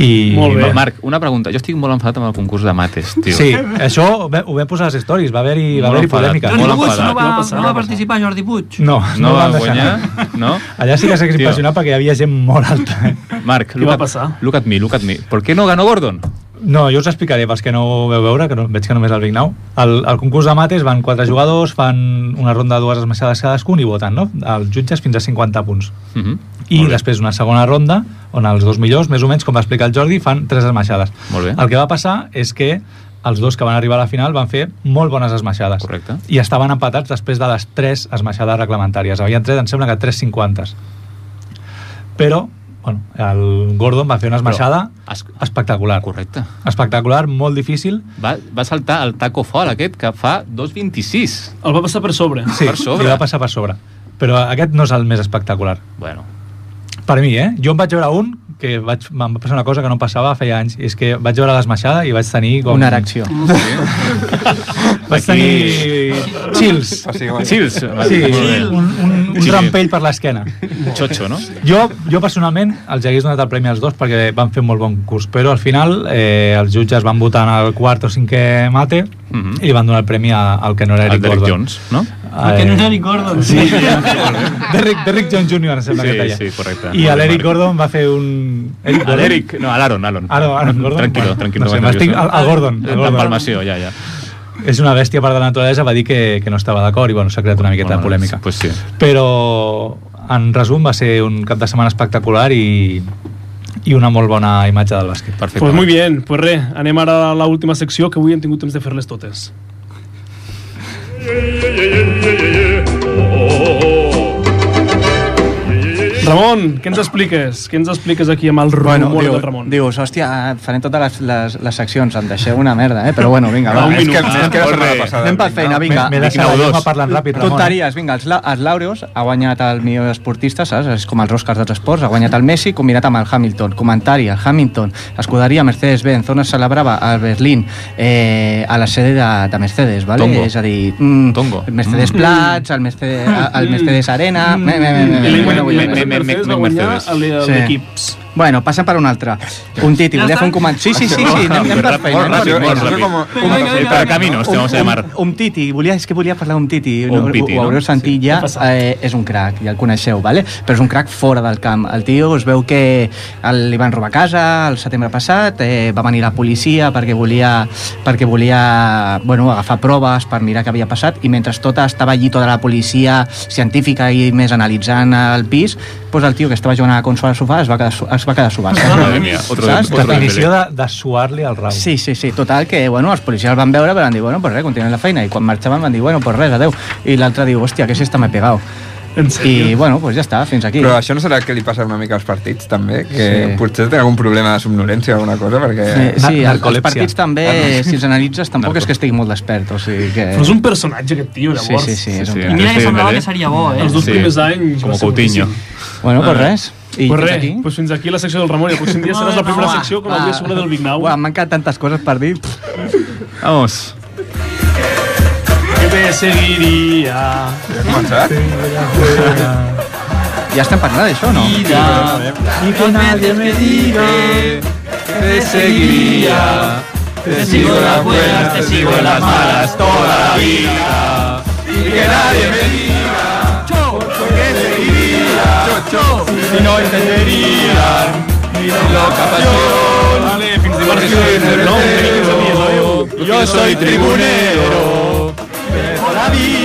Speaker 5: I
Speaker 2: Molt bé.
Speaker 3: Va, Marc, una pregunta. Jo estic molt enfadat amb el concurs de mates, tio.
Speaker 5: Sí, això ho ve- ho vam posar a les stories, va haver-hi va
Speaker 3: Molt
Speaker 5: haver
Speaker 3: enfadat.
Speaker 5: polèmica.
Speaker 4: Jordi
Speaker 3: Molt
Speaker 4: Puig
Speaker 3: enfadat.
Speaker 4: no va,
Speaker 2: No passa
Speaker 4: no
Speaker 2: res.
Speaker 4: va participar, Jordi Puig.
Speaker 5: No,
Speaker 3: No,
Speaker 5: no,
Speaker 3: va
Speaker 5: van deixar
Speaker 3: guanyar,
Speaker 5: anar.
Speaker 3: no?
Speaker 5: Allà sí que s'hagués
Speaker 3: Tio.
Speaker 5: impressionat perquè hi havia gent molt alta. eh?
Speaker 3: Marc,
Speaker 2: Què
Speaker 3: look
Speaker 2: va
Speaker 3: at-
Speaker 2: passar?
Speaker 3: Look at me, look at me. ¿Por qué no ganó Gordon?
Speaker 5: No, jo us explicaré pels que no ho veu veure, que no, veig que només el Vignau. Al, al concurs de mates van quatre jugadors, fan una ronda de dues esmaixades cadascun i voten, no? Els jutges fins a 50 punts.
Speaker 3: Mhm.
Speaker 5: i
Speaker 3: Molt bé.
Speaker 5: després una segona ronda on els dos millors, més o menys, com va explicar el Jordi, fan tres esmaixades.
Speaker 3: Molt bé.
Speaker 5: El que va passar és que els dos que van arribar a la final van fer molt bones esmaixades.
Speaker 3: Correcte.
Speaker 5: I estaven empatats després de les tres esmaixades reglamentàries. Havien tret, em sembla que tres 50 Però, bueno, el Gordon va fer una esmaixada
Speaker 3: Però es- ah,
Speaker 5: espectacular.
Speaker 3: Correcte.
Speaker 5: Espectacular, molt difícil.
Speaker 3: Va, va saltar el taco foul aquest que fa 2.26.
Speaker 2: El va passar per sobre.
Speaker 5: Sí,
Speaker 3: Per sobre.
Speaker 5: li va passar per sobre. Però aquest no és el més espectacular.
Speaker 3: Bueno,
Speaker 5: Per mi, eh? Jo en vaig veure un que vaig, em va passar una cosa que no em passava feia anys, i és que vaig veure l'esmaixada i vaig tenir com...
Speaker 6: Una erecció.
Speaker 5: Vaig tenir chills.
Speaker 1: O sigui, bueno,
Speaker 3: Chills.
Speaker 5: Sí,
Speaker 3: Molt bé.
Speaker 5: un, un, un
Speaker 3: Sí.
Speaker 5: rampell per l'esquena.
Speaker 3: Xocho, no?
Speaker 5: Jo, jo personalment els hagués donat el premi als dos perquè van fer un molt bon curs, però al final eh, els jutges van votar en el quart o cinquè mate
Speaker 3: Mhm.
Speaker 5: i li van donar el premi a- al que no era
Speaker 3: El
Speaker 5: Eric
Speaker 3: Derek
Speaker 5: Gordon.
Speaker 3: Jones, no?
Speaker 5: Eh,
Speaker 4: Que no era ni Gordon. Sí.
Speaker 5: Derrick, Derrick Jones Jr. em sembla
Speaker 3: Sí,
Speaker 5: que deia.
Speaker 3: sí, correcte.
Speaker 5: I
Speaker 3: Molt bé,
Speaker 5: l'Eric
Speaker 3: Marc.
Speaker 5: Gordon va fer un... Eric
Speaker 3: Al Eric, no, al Aaron, Aaron.
Speaker 5: Aaron- Aaron Gordon,
Speaker 3: Mm, Tranquilo,
Speaker 5: bueno,
Speaker 3: tranquilo.
Speaker 5: no sé,
Speaker 3: nervioso.
Speaker 5: m'estic- al- al Gordon, al Gordon.
Speaker 3: Empalmació, ja, ja.
Speaker 5: és una bèstia per de la naturalesa, va dir que, que no estava d'acord i bueno, s'ha creat una miqueta
Speaker 3: Bueno, doncs,
Speaker 5: de polèmica.
Speaker 3: Pues sí.
Speaker 5: Però, en resum, va ser un cap de setmana espectacular i, i una molt bona imatge del bàsquet.
Speaker 3: Perfecte.
Speaker 2: Pues muy bien, pues re, anem ara a l'última secció que avui hem tingut temps de fer-les totes. Ramon, què ens expliques? Què ens expliques aquí amb el rumor
Speaker 6: diu,
Speaker 2: del Ramon?
Speaker 6: dius, hòstia, farem totes les, les, les seccions, em deixeu una merda, eh? Però bueno, vinga,
Speaker 2: Va,
Speaker 6: va.
Speaker 2: un
Speaker 1: és que,
Speaker 2: minut.
Speaker 3: eh?
Speaker 1: és que la setmana passada...
Speaker 6: Anem per feina, vinga.
Speaker 5: M'he
Speaker 6: Vignau,
Speaker 5: deixat la
Speaker 6: dos.
Speaker 5: llengua parlant ràpid, eh? Ramon.
Speaker 6: Tonteries, vinga, els, la- els Laureus ha guanyat el millor esportista, saps? És com els Oscars dels esports, ha guanyat el Messi, combinat amb el Hamilton. Comentari, el Hamilton, escuderia Mercedes-Benz, on es celebrava al Berlín, eh, a la sede de, de Mercedes, vale?
Speaker 3: Tongo.
Speaker 6: És a dir, mm,
Speaker 3: Tongo.
Speaker 6: Mercedes
Speaker 3: Mm.
Speaker 6: Plats, el Mercedes, el Mercedes Arena... Mm. Me, me, me, me,
Speaker 2: I l'any
Speaker 6: me, me,
Speaker 2: guanyat-
Speaker 6: me, me, me,
Speaker 2: l'any
Speaker 6: me,
Speaker 2: guanyat
Speaker 3: me- me-
Speaker 2: Mercedes va
Speaker 3: me-
Speaker 2: guanyar
Speaker 3: Mercedes.
Speaker 2: a l'e- a
Speaker 6: Sí.
Speaker 2: l'equips.
Speaker 6: Bueno, passa per un altre. Un titi,
Speaker 4: Ja
Speaker 6: volia
Speaker 4: està?
Speaker 6: fer un comentari. Sí, sí, sí, sí, anem, anem per feina.
Speaker 1: Molt ràpid, molt ràpid.
Speaker 6: Un-
Speaker 1: Venga, venga,
Speaker 6: un-
Speaker 3: Caminos, te este vamos a
Speaker 6: un-
Speaker 3: llamar.
Speaker 6: Un titi, volia, és que volia parlar d'un titi.
Speaker 3: Un piti,
Speaker 6: ho, ho
Speaker 3: no?
Speaker 6: haureu sentit ja,
Speaker 2: Què passa?
Speaker 6: eh, és un crac, ja el coneixeu, vale? però és un crac fora del camp. El tio es veu que el, li van robar casa el setembre passat, eh, va venir la policia perquè volia, perquè volia bueno, agafar proves per mirar què havia passat i mentre tota estava allí tota la policia científica i més analitzant el pis, doncs el tio que estava jugant a la consola al sofà es va quedar, su- es va quedar sobat.
Speaker 3: Madre mía, otro de-
Speaker 6: Saps?
Speaker 3: otro de
Speaker 5: Definició de, de suar-li al rau.
Speaker 6: Sí, sí, sí, total, que bueno, els policies el van veure però van dir, bueno, pues res, continuen la feina i quan marxaven van dir, bueno, pues res, adeu i l'altre diu, hòstia, que siesta m'he pegat
Speaker 2: En sèrio? eh,
Speaker 6: i bueno, pues ja està, fins aquí
Speaker 1: Però això no serà que li passa una mica als partits, també? Que
Speaker 6: Sí.
Speaker 1: potser té algun problema de somnolència o alguna cosa, perquè...
Speaker 6: Sí, sí
Speaker 5: Nar-
Speaker 6: el- els
Speaker 5: narcolèpsia.
Speaker 6: partits també, si els analitzes, tampoc és que estigui molt despert, o sigui que...
Speaker 2: Però és un personatge, aquest tio,
Speaker 6: Sí,
Speaker 2: llavors.
Speaker 6: sí, sí, és un...
Speaker 3: Sí,
Speaker 6: Sí,
Speaker 3: sí.
Speaker 4: I mira que
Speaker 3: Sí,
Speaker 4: semblava
Speaker 3: bé.
Speaker 4: que seria bo, eh?
Speaker 2: Els dos primers anys...
Speaker 3: Com
Speaker 2: va
Speaker 3: a
Speaker 2: ser
Speaker 3: Coutinho.
Speaker 2: boníssim.
Speaker 6: Bueno, pues res. I
Speaker 2: Pues
Speaker 6: fins
Speaker 2: res,
Speaker 6: aquí.
Speaker 2: pues fins aquí la secció del Ramon i el pròxim dia seràs la primera secció
Speaker 6: Ah.
Speaker 2: com el dia sobre del Vignau.
Speaker 6: Uah, m'han quedat tantes coses per dir.
Speaker 3: Vamos.
Speaker 2: Que bé seguiria...
Speaker 1: Ja hem començat?
Speaker 6: Ja estem parlant d'això, no?
Speaker 2: I que nadie me diga
Speaker 1: Te seguiría, te sigo las buenas, te sigo las malas toda la vida. Y que nadie me diga, por qué seguiría, si no entenderían mi loca pasión. Vale, fins dimarts que soy
Speaker 2: No, tenim 15 dies, oi?
Speaker 1: Yo soy tribunero, por la vida.